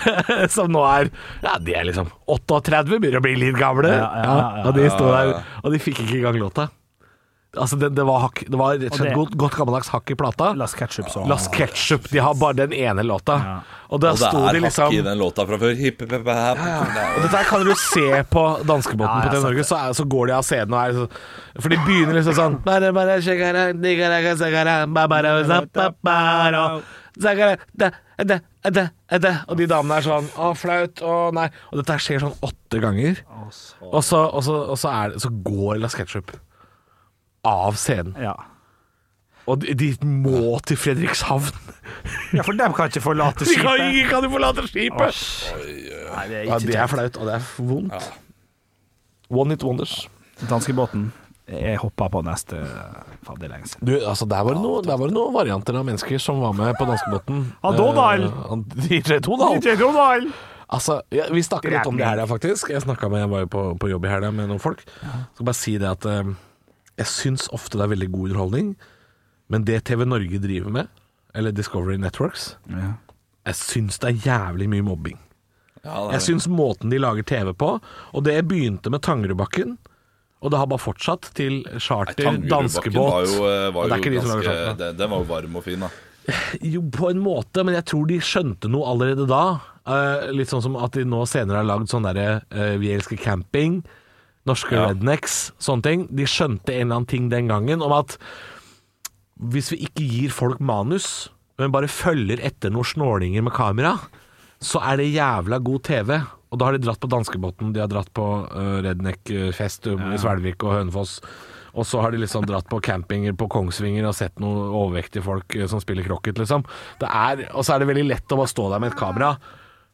som nå er Ja, de er liksom 38, begynner å bli litt gamle. Ja, Ja, ja, ja, ja. og de sto der, og de fikk ikke engang låta. Altså, det, det, var hakk, det var rett og slett Og godt, godt gammeldags hakk i plata. Las Ketchup så Las Ketchup, de har bare den ene låta. Og der Og det sto er de liksom hakk i den låta fra før. Hipp, hipp, hipp, hipp. og dette her kan du se på danskebåten Ja, jeg har på TV sett Norge, så, er, så går de av scenen og er så, For de begynner liksom sånn bare, bare, shakara, digara, sagara, babara, zapapara, sagara, da, da, da, da. Og de damene er sånn Å, flaut. Å, nei. Og dette her skjer sånn åtte ganger. Og så, og så, og så, er det, så går Las Ketchup av scenen. Ja. Og de, de må til Fredrikshavn. ja, for dem kan ikke forlate De kan, skipet. ikke- kan de forlate skipet! Nei, det Ja, er det ikke er flaut, og det er vondt. One hit wonders. Danskebåten. Jeg hoppa på neste Faen, det er lenge siden. Du, altså Der var det noe- der var det noen varianter av mennesker som var med på danskebåten. Ja, Donald. Eh, han- DJ Donald! Altså, ja, Vi snakker litt om det i helga, faktisk. Jeg snakket med, jeg var jo på, på jobb i helga med noen folk. Skal bare si det at eh, jeg syns ofte det er veldig god underholdning, men det TV Norge driver med, eller Discovery Networks, Ja. jeg syns det er jævlig mye mobbing. Ja, det er Jeg det. syns måten de lager TV på, og det begynte med Tangerudbakken, og det har bare fortsatt til charter, Tangerudbakken var danskebåt jo, eh, var Og det er jo ikke de som lager ganske, charter. den, den var jo varm og fin, da. Jo, på en måte, men jeg tror de skjønte noe allerede da. Eh, litt sånn som at de nå senere har lagd sånn derre eh, Vi elsker camping. norske Ja. rednecks, sånne ting, de skjønte en eller annen ting den gangen om at hvis vi ikke gir folk manus, men bare følger etter noen snålinger med kamera, så er det jævla god TV. Og da har de dratt på danskebåten, de har dratt på uh, Redneck-fest um, i Svelvik og Hønefoss. Og så har de liksom dratt på campinger på Kongsvinger og sett noen overvektige folk eh, som spiller krokket, liksom. Det er, og så er det veldig lett å bare stå der med et kamera,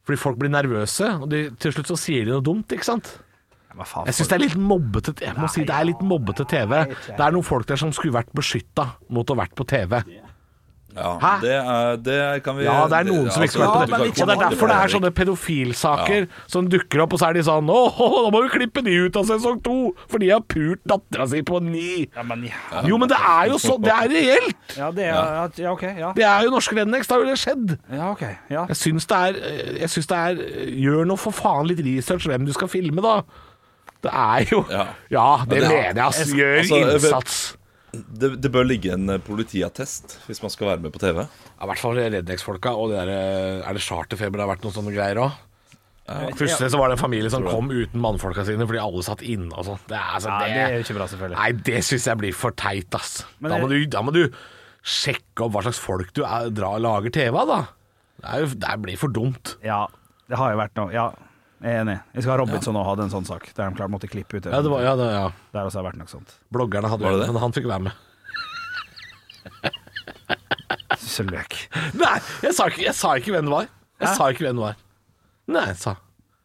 fordi folk blir nervøse, og de, til slutt så sier de noe dumt, ikke sant? Jeg syns det er litt mobbete Jeg må si det er litt mobbete TV. Det er noen folk der som skulle vært beskytta mot å vært på TV. Ja, det, er, det kan vi altså, Ja, det er noen som ikke skulle vært på TV. Og det er derfor det er sånne pedofilsaker som dukker opp, og så er de sånn Å, da må vi klippe de ut av sesong to! For de har pult dattera si på ni! Jo, men det er jo sånn. Det er reelt! Ja, det er, ja. Ja. ok. Ja. Det er jo norske Rednecks, det har jo det skjedd. Ja, ok. Ja. Jeg syns det er, jeg syns det er Gjør nå for faen litt research hvem du skal filme, da. Det er jo Ja, det, mener jeg, ass. Gjør innsats. Det, det bør ligge en eh, politiattest hvis man skal være med på TV. Ja, I hvert fall Rednex-folka. Og det der, eh, er det charterfeber det har vært noen sånne greier òg? Eh, Plutselig så var det en familie som Tror jeg. kom uten mannfolka sine fordi alle satt inne og sånn. Det, er- altså, Nei, det, det er jo ikke bra, selvfølgelig. Nei, det syns jeg blir for teit, ass. Men Da må, du, det- da må du sjekke opp hva slags folk du er, dra, lager TV av, da. Det, er jo, det blir for dumt. Ja, det har jo vært noe. Ja, jeg er enig. Jeg skal ha Robinson og hadde en sånn sak, der de klart måtte klippe ut Ja, det var, ja, det, ja. Der også har vært noe sånt. Bloggerne hadde Var det det, det? men han fikk være med. Sølvløk. Nei, jeg sa, ikke, jeg sa ikke hvem det var. Jeg sa ikke hvem det var. Nei, jeg sa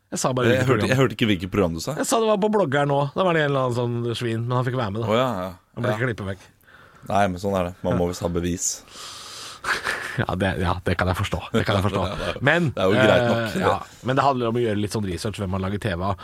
Jeg sa bare Jeg hvilket hørte, program. jeg hørte ikke hvilket program du sa. Jeg sa det var på bloggeren nå. Da var det en eller annen sånn svin, men han fikk være med, da. Å, ja, ja. Han ble Ja. ikke klippet vekk. Nei, men sånn er det. Man må visst ha bevis. Ja det, ja, det kan jeg forstå. Det kan jeg forstå. Ja, det er- Men det er jo greit nok, eh, det. ja, men det handler om å gjøre litt sånn research hvem man lager TV av.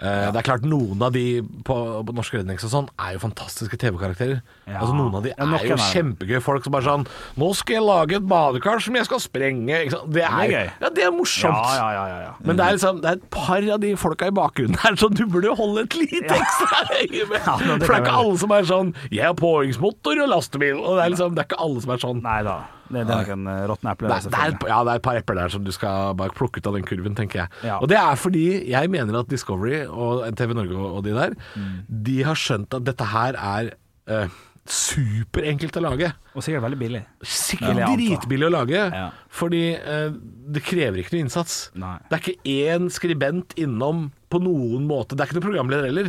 Eh, det er klart Noen av de på, på Norsk Rednings og sånn er jo fantastiske TV-karakterer. Ja. Altså Noen av de Ja, noen er jo er det. kjempegøye folk som bare sånn 'Nå skal jeg lage et badekar som jeg skal sprenge.' Ikke sant? Det, er, Det er gøy. Ja, det er morsomt. Ja, ja, ja, ja, ja. Men det er, liksom, det er et par av de folka i bakgrunnen her som du burde holde et lite ekstra øye med. Ja, men det For det kan er ikke være. alle som er sånn 'Jeg har påhengsmotor og lastebil'. Og det, er liksom, det er ikke alle som er sånn. Nei da. Det er nok en eh, råtten eple. Det er, det er, et par- ja, det er et par epler der som du skal bare plukke ut av den kurven, tenker jeg. Ja. Og det er fordi jeg mener at Discovery og TV Norge og og de der, de har skjønt at dette her er eh, superenkelt å lage. Og sikkert veldig billig. Sikkert Vil jeg anta. dritbillig å lage, fordi eh, det krever ikke noe innsats. Det er ikke én skribent innom på noen måte. Det er ikke noen programleder heller.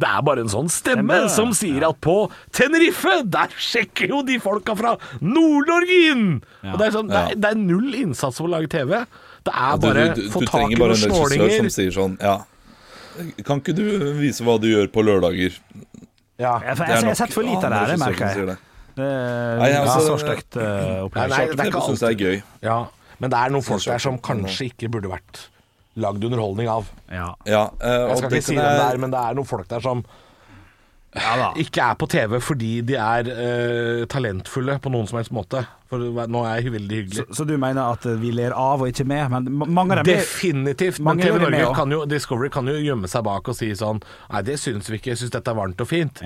Det er bare en sånn stemme Stemme, ja. som sier at på Tenerife, der sjekker jo de folka fra Nord-Norge inn! Ja. Og det er, sånn, det, Ja. er, det er null innsats for å lage TV. Det Ja, er du, bare du, du, få du tak i trenger bare noen en regissør snålinger. som sier sånn Ja, kan ikke du vise hva du gjør på lørdager? Ja. Jeg, jeg, Det er jeg, nok har sett for lite av det her, andre jeg som merker jeg. sier det. Det er Nei, altså, så stygt eh, opplevd. Nei, nei, det er ikke synes jeg er gøy. Ja, men det er noen folk der som kanskje ikke burde vært lagd underholdning av. Ja, eh, og Jeg skal det ikke si kan hvem det jeg- er, men det er noen folk der som ikke er på TV fordi de er eh, talentfulle på noen som helst måte. For å være- nå er jeg veldig hyggelig. Så, så du mener at eh, vi ler av og ikke med, men ma- mange av dem er- Definitivt. Men Mange TV gjør det med, Norge ja. kan jo, Discovery kan jo gjemme seg bak og si sånn Nei, det syns vi ikke. Jeg syns dette er varmt og fint.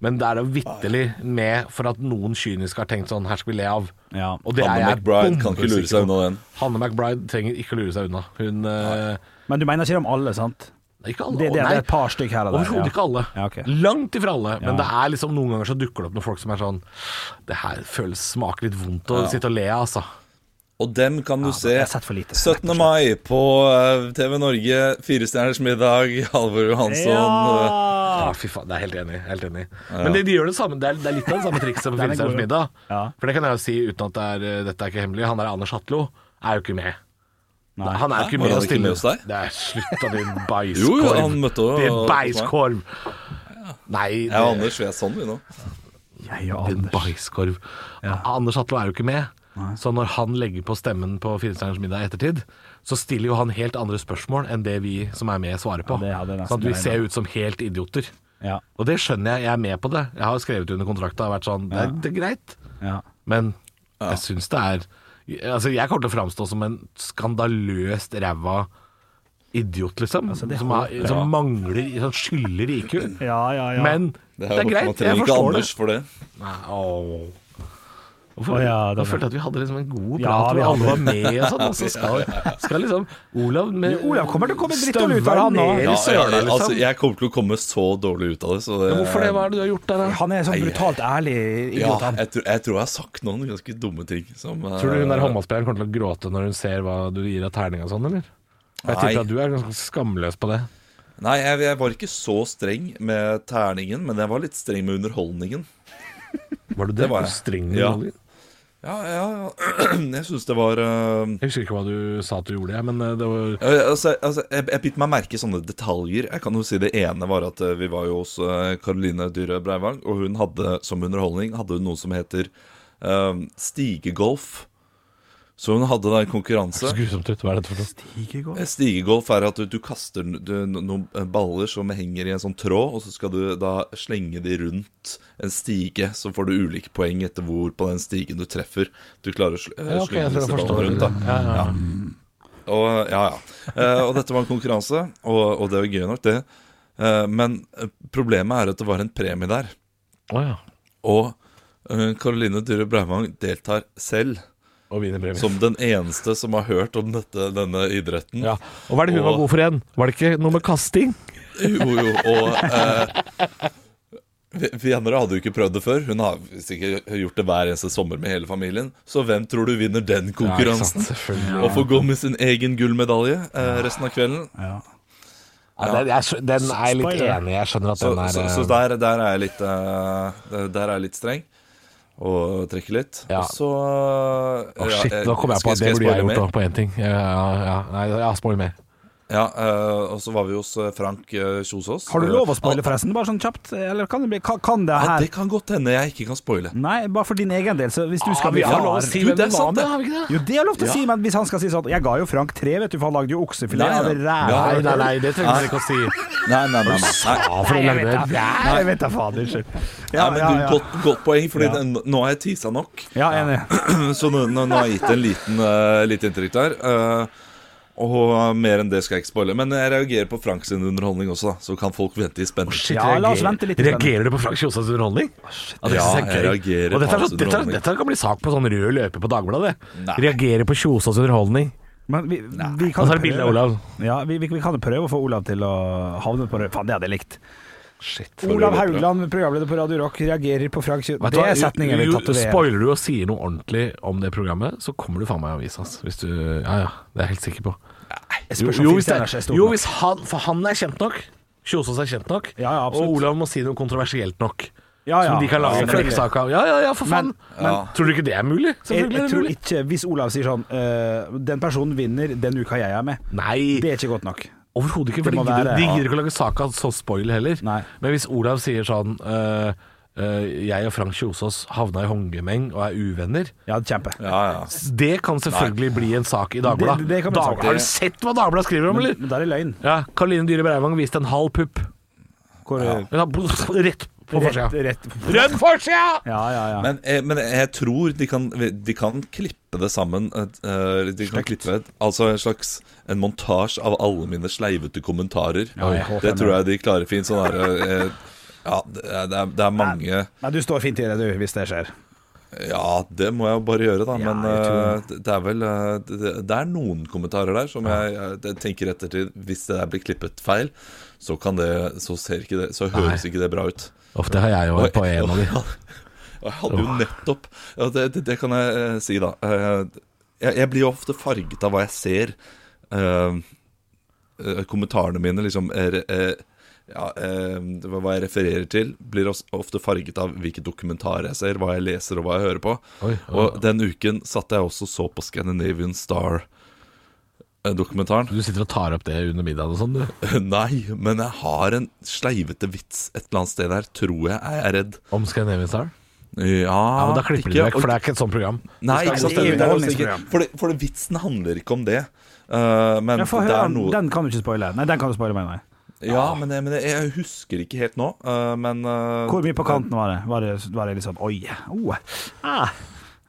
Men det er da vitterlig med for at noen kynisk har tenkt sånn Her skal vi le av. Og det Hanne er jeg McBride kan ikke lure seg bombesikker på. unna den. Hanne McBride trenger ikke lure seg unna. Hun eh, Men du mener ikke om alle, sant? Ikke alle. Det, det, Nei. det er et par stykk her og der. Overhodet ikke alle. Langt ifra alle. Men Ja. det er liksom noen ganger så dukker det opp noen folk som er sånn Det her føles smaker litt vondt å Ja. sitte og le av, altså. Og dem kan du se jeg har sett for lite. 17. mai på eh, TV Norge, Firestjerners middag, Halvor Johansson. Ja, fy faen. Det er jeg helt enig. i, Helt enig. i. Men de, de gjør det samme. Det er, det er litt av det samme trikset på Den er Filmstjerners god, middag. For det kan jeg jo si uten at det er, eh, dette er ikke hemmelig. Han der Anders Hatlo er jo ikke med. Nei, han er jo Hæ? ikke Var med han og ikke stiller. med hos deg? Det er slutt av din Jo, bæsjkorv. jo, han møtte jo- Din bæsjkorv. Nei, Jeg og Anders, vi er sånn vi nå. Jeg og Din bæsjkorv. Anders Hatlo er jo ikke med. Så når han legger på stemmen på Firestjerners middag i ettertid, så stiller jo han helt andre spørsmål enn det vi som er med, svarer på. Ja, det hadde jeg nesten sånn at vi regnet. ser ut som helt idioter. Ja. Og det skjønner jeg, jeg er med på det. Jeg har jo skrevet under kontrakta og vært sånn det, er- det er greit. Men jeg syns det er Altså, jeg kommer til å framstå som en skandaløst ræva idiot, liksom. Altså, det som, håper har, jeg. som mangler Som skylder IQ. Ja, ja, ja. Men det er, greit, jeg ikke forstår Anders det. for det. Nei, åh. Hvorfor, Å ja, da den er- følte jeg at vi hadde liksom en god Ja, prat, vi hvor alle hadde var det. med og sånn. Og så skal, skal liksom Olav med Jo, Olav kommer til å komme drittdårlig ut av det, han støvelen ned i Ja, ja, søla, liksom. altså, jeg kommer til å komme så dårlig ut av det. Så det Hva er det du har gjort der, da? Han er sånn brutalt ærlig ja, idiot, han. jeg, tror, jeg tror jeg har sagt noen ganske dumme ting. Som, eh, Tror du hun der håndballspilleren kommer til å gråte når hun ser hva du gir av terning og sånn, eller? Jeg Nei. tipper at du er ganske skamløs på det. Nei, jeg, jeg var ikke så streng med terningen, men jeg var litt streng med underholdningen. Var du det? var Du jeg. streng med ja. underholdningen? Ja, ja, ja. Jeg syns det var Jeg husker ikke hva du sa at du gjorde, jeg, men eh, det var Eh, Altså, altså, jeg, jeg bit meg merke i sånne detaljer. Jeg kan jo si Det ene var at eh, vi var jo hos eh, Caroline Dyhre Breivang, og hun hadde som underholdning hadde hun noe som heter eh, stigegolf. Så hun hadde da en konkurranse. så grusomt ut. Hva er dette for noe? Eh, Stigegolf er at du, du kaster n- du, no- noen eh, baller som henger i en sånn tråd, og så skal du da slenge de rundt en stige. Så får du ulike poeng etter hvor på den stigen du treffer. Du klarer å sl eh, Ja, ok, jeg tror slenge jeg disse forstår ballene rundt. da det. Ja, ja, ja. Og, ja, ja. Eh, og dette var en konkurranse, og, og det var gøy nok, det. Eh, men eh, problemet er at det var en premie der. Å, ja. Og eh, Caroline Dyhre Breivang deltar selv. Og vinner premien. Som den eneste som har hørt om dette, denne idretten. Ja. Og hva er det hun var god for igjen? Var det ikke noe med kasting? Jo, jo, og eh, vi- vi andre hadde jo ikke prøvd det før. Hun har sikkert gjort det hver eneste sommer med hele familien. Så hvem tror du vinner den Ja, ikke konkurransen? sant, selvfølgelig. og får gå med sin egen gullmedalje eh, resten av kvelden? Ja. Ja, den- jeg skjø- den er jeg litt Spoiler. enig i. Jeg skjønner at så, den er, Så, eh, så der, der er jeg litt eh, Der er jeg litt streng. Og trekker litt. Ja. Og så Å, shit, nå kom jeg på at det burde jeg gjort da, på én ting. Ja, ja, ja. Nei, ja, spoil mer. Ja, eh, og så var vi hos eh, Frank eh, Kjosås. Har du lov å Han- spoile, forresten? Bare sånn kjapt? Eller kan det, bli, kan, kan det her Det kan godt hende jeg ikke kan spoile. Nei, bare for din egen del. Så hvis du Ah, skal vi bli har far- lov å si Du, hvem det er det var sant, med, har vi ikke det? Jo, det er lov til å Ja. si, men hvis han skal si sånn Jeg ga jo Frank tre, vet du, for han lagde jo oksefilet Nei, av nei. ræva. Nei, nei, nei, det trenger man ikke å si. Nei, nei, nei, nei. Nei, jeg vet da. Nei, jeg vet da faen. Unnskyld. Ja, Nei, men ja, du, ja. Godt, godt poeng, Fordi Ja. den, nå har jeg tisa nok. Ja, enig. Så nå, nå, nå har jeg gitt en liten eh, lite inntrykk der. eh, og mer enn det skal jeg ikke spoile. Men jeg reagerer på Frank sin underholdning også, da. Så kan folk vente i spenning. Reagerer du på Frank Kjosas underholdning? Ja, det synes jeg er gøy. reagerer og dette, er, på så- hans dette, underholdning. dette kan bli sak på sånn rød løper på Dagbladet. Reagerer på Kjosas underholdning. Men vi, vi Og kan så er det bilde av Olav. Ja, vi, vi, vi kan jo prøve å få Olav til å havne på rød. Faen, det hadde jeg likt. Shit. Olav Haugland, programleder på Radio Rock, reagerer på Frank Kjø... Vet du Det hva? er setningen vi Jo, jo, tatoverer. Spoiler du og sier noe ordentlig om det programmet, så kommer du faen meg i avisa. ass. Hvis du Ja ja, det er jeg helt sikker på. Jeg Jo, spørs om jo, Finn hvis, Steinar er det, stor jo, nok. hvis han For han er kjent nok. Kjosås er kjent nok. og Olav må si noe kontroversielt nok. Ja, ja. Som de kan lage Ja, en selvfølgelig. flekksak av. Ja, ja, ja, for faen. Men- men- tror du ikke det er mulig? Jeg, jeg Selvfølgelig er det tror mulig. ikke Hvis Olav sier sånn eh, 'Den personen vinner den uka jeg er med', Nei. det er ikke godt nok. Overhodet ikke, for Det de må gidder, være- de ja. gidder ikke å lage sak av så spoil heller. Men hvis Olav sier sånn øh, øh, Jeg og Frank Kjosås havna i håndgemeng og er uvenner. Ja, kjempe. Det kan selvfølgelig bli en sak i Det- Dagbladet. det kan bli en sak. Dag- Har du sett hva Dagbladet skriver om, eller? Men, der er løgn. Ja, Karoline Dyhre Breivang viste en halv pupp. Ja. Hun har- Rett på Rett- forsida. rett- Rød forsida! Ja, ja, ja. Men, eh, men jeg tror de kan, de kan klippe det sammen. eh, eh, de kan klippe et, altså en slags en montasje av alle mine sleivete kommentarer. Ja, jeg håper det det. tror jeg de klarer fint. Sånn der, eh, eh, ja, det er, det er- det er mange Nei, du står fint i det, du, hvis det skjer. Ja, det må jeg jo bare gjøre, da. Ja, men jeg tror eh, det det er vel eh, det, det er noen kommentarer der som jeg, jeg jeg tenker ettertid Hvis det der blir klippet feil, så kan det Så ser ikke det Så høres ikke det bra ut. Ofte har jeg jo Og- på en av de. Og jeg hadde jo nettopp ja, det, det, det kan jeg eh, si, da. Eh, Jeg, jeg blir jo ofte farget av hva jeg ser. Eh, eh, kommentarene mine, liksom er, eh, ja, eh, det var Hva jeg refererer til, blir også ofte farget av hvilke dokumentarer jeg ser, hva jeg leser og hva jeg hører på. Oi, oi. Og den uken satt jeg også og så på Scandinavian eh, Star-dokumentaren. Du sitter og tar opp det under middagen og sånn, du? Nei, men jeg har en sleivete vits et eller annet sted der, tror jeg. Jeg er redd. Om Scandinavian Star? Ja, Ja, men da klipper de det vekk, for det er ikke et sånt program. Nei, Det ikke skal- sant? Det, det det er et er også ikke, underholdningsprogram. for, det, for det, vitsen handler ikke om det. Eh, men Ja, få det høre, er noe Den kan du ikke spoile. Nei, den kan du spoile, mener jeg. Ja, men, jeg, men jeg, jeg husker ikke helt nå, eh, men eh, Hvor mye på kanten var det? Var det, var det liksom Oi. Oh. Ah.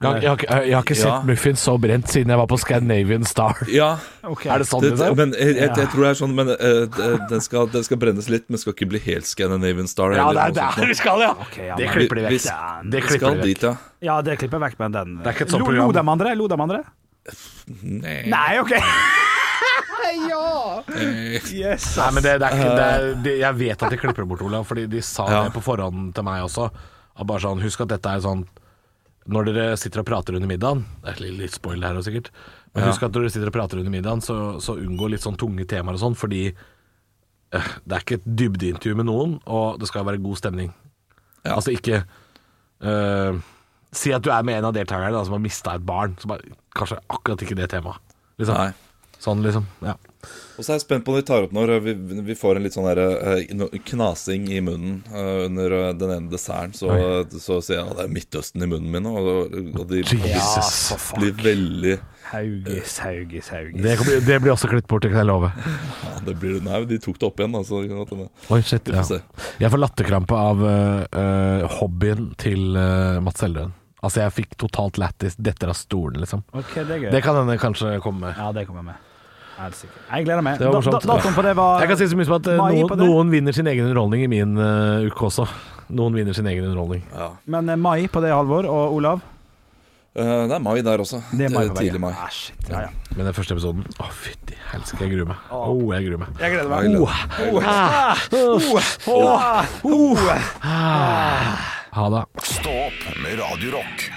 Jeg, har- jeg, har ikke- jeg har ikke sett Ja. muffins så brent siden jeg var på Scandinavian Star. Ja. Er det sånn, liksom? Men jeg, jeg, jeg Ja. tror det er sånn Men eh, d- den, skal, den skal brennes litt, men skal ikke bli helt Scandinavian Star. Ja, eller det er der noe sånt nå. vi skal, ja! Ok, ja, det men- klipper de Vi- vekk. vi- Det vi klipper skal de vekk. dit, ja. Ja, det klipper jeg vekk, men den Det er ikke et sånt Lo- program. Lo dem andre? Lo dem andre? Nei, OK! ja! Yes, Nei, men det, det er ikke, det er, det, jeg vet at de klipper bort, Olav, fordi de sa Ja. det på forhånd til meg også. At bare sånn, Husk at dette er sånn Når dere sitter og prater under middagen Det er litt, litt spoil her også, sikkert. Men Ja. husk at når dere sitter og prater under middagen, så, så unngå litt sånn tunge temaer og sånn, fordi eh, det er ikke et dybdeintervju med noen, og det skal være god stemning. Ja. Altså ikke eh, Si at du er med en av deltakerne da, som har mista et barn. Så bare, kanskje akkurat ikke det temaet. Liksom. Nei. Sånn, liksom. Ja. Og så er jeg spent på når de tar opp når eh, vi, vi får en litt sånn der, eh, no- knasing i munnen eh, under eh, den ene desserten. Så, eh, så sier jeg at det er Midtøsten i munnen min nå. Og, og de Jesus. blir veldig Haugis, Haugis, Haugis. Det, blir- det blir også klippet bort, det kan jeg love. ja, det blir, Nei, de tok det opp igjen, da. Så, det kan godt hende. Oi, shit, Vi ja. får se. Jeg får latterkrampe av øh, øh, hobbyen til øh, Mats Eldøen. Altså, jeg fikk totalt lættis. Detter av stolen, liksom. Ok, det er gøy. Det kan hende kanskje komme. Ja, det kommer jeg med. Helt sikkert. Jeg gleder meg. Det var Da- morsomt. da- Datoen på det var Jeg kan si så mye som at øh, Mai på noen, det. noen vinner sin egen underholdning i min øh, uke også. Noen vinner sin egen underholdning. Men eh, mai på det, Halvor og Olav. Eh, det er mai der også. Det er mai Eh, på Tidlig mai. Ah, shit. Ja, ja. Men den første episoden Å, fytti helsike, jeg gruer meg. Å, jeg gruer meg. Jeg gleder Oh, ah. Jeg gleder meg. Ha det. Stå opp med Radio Rock.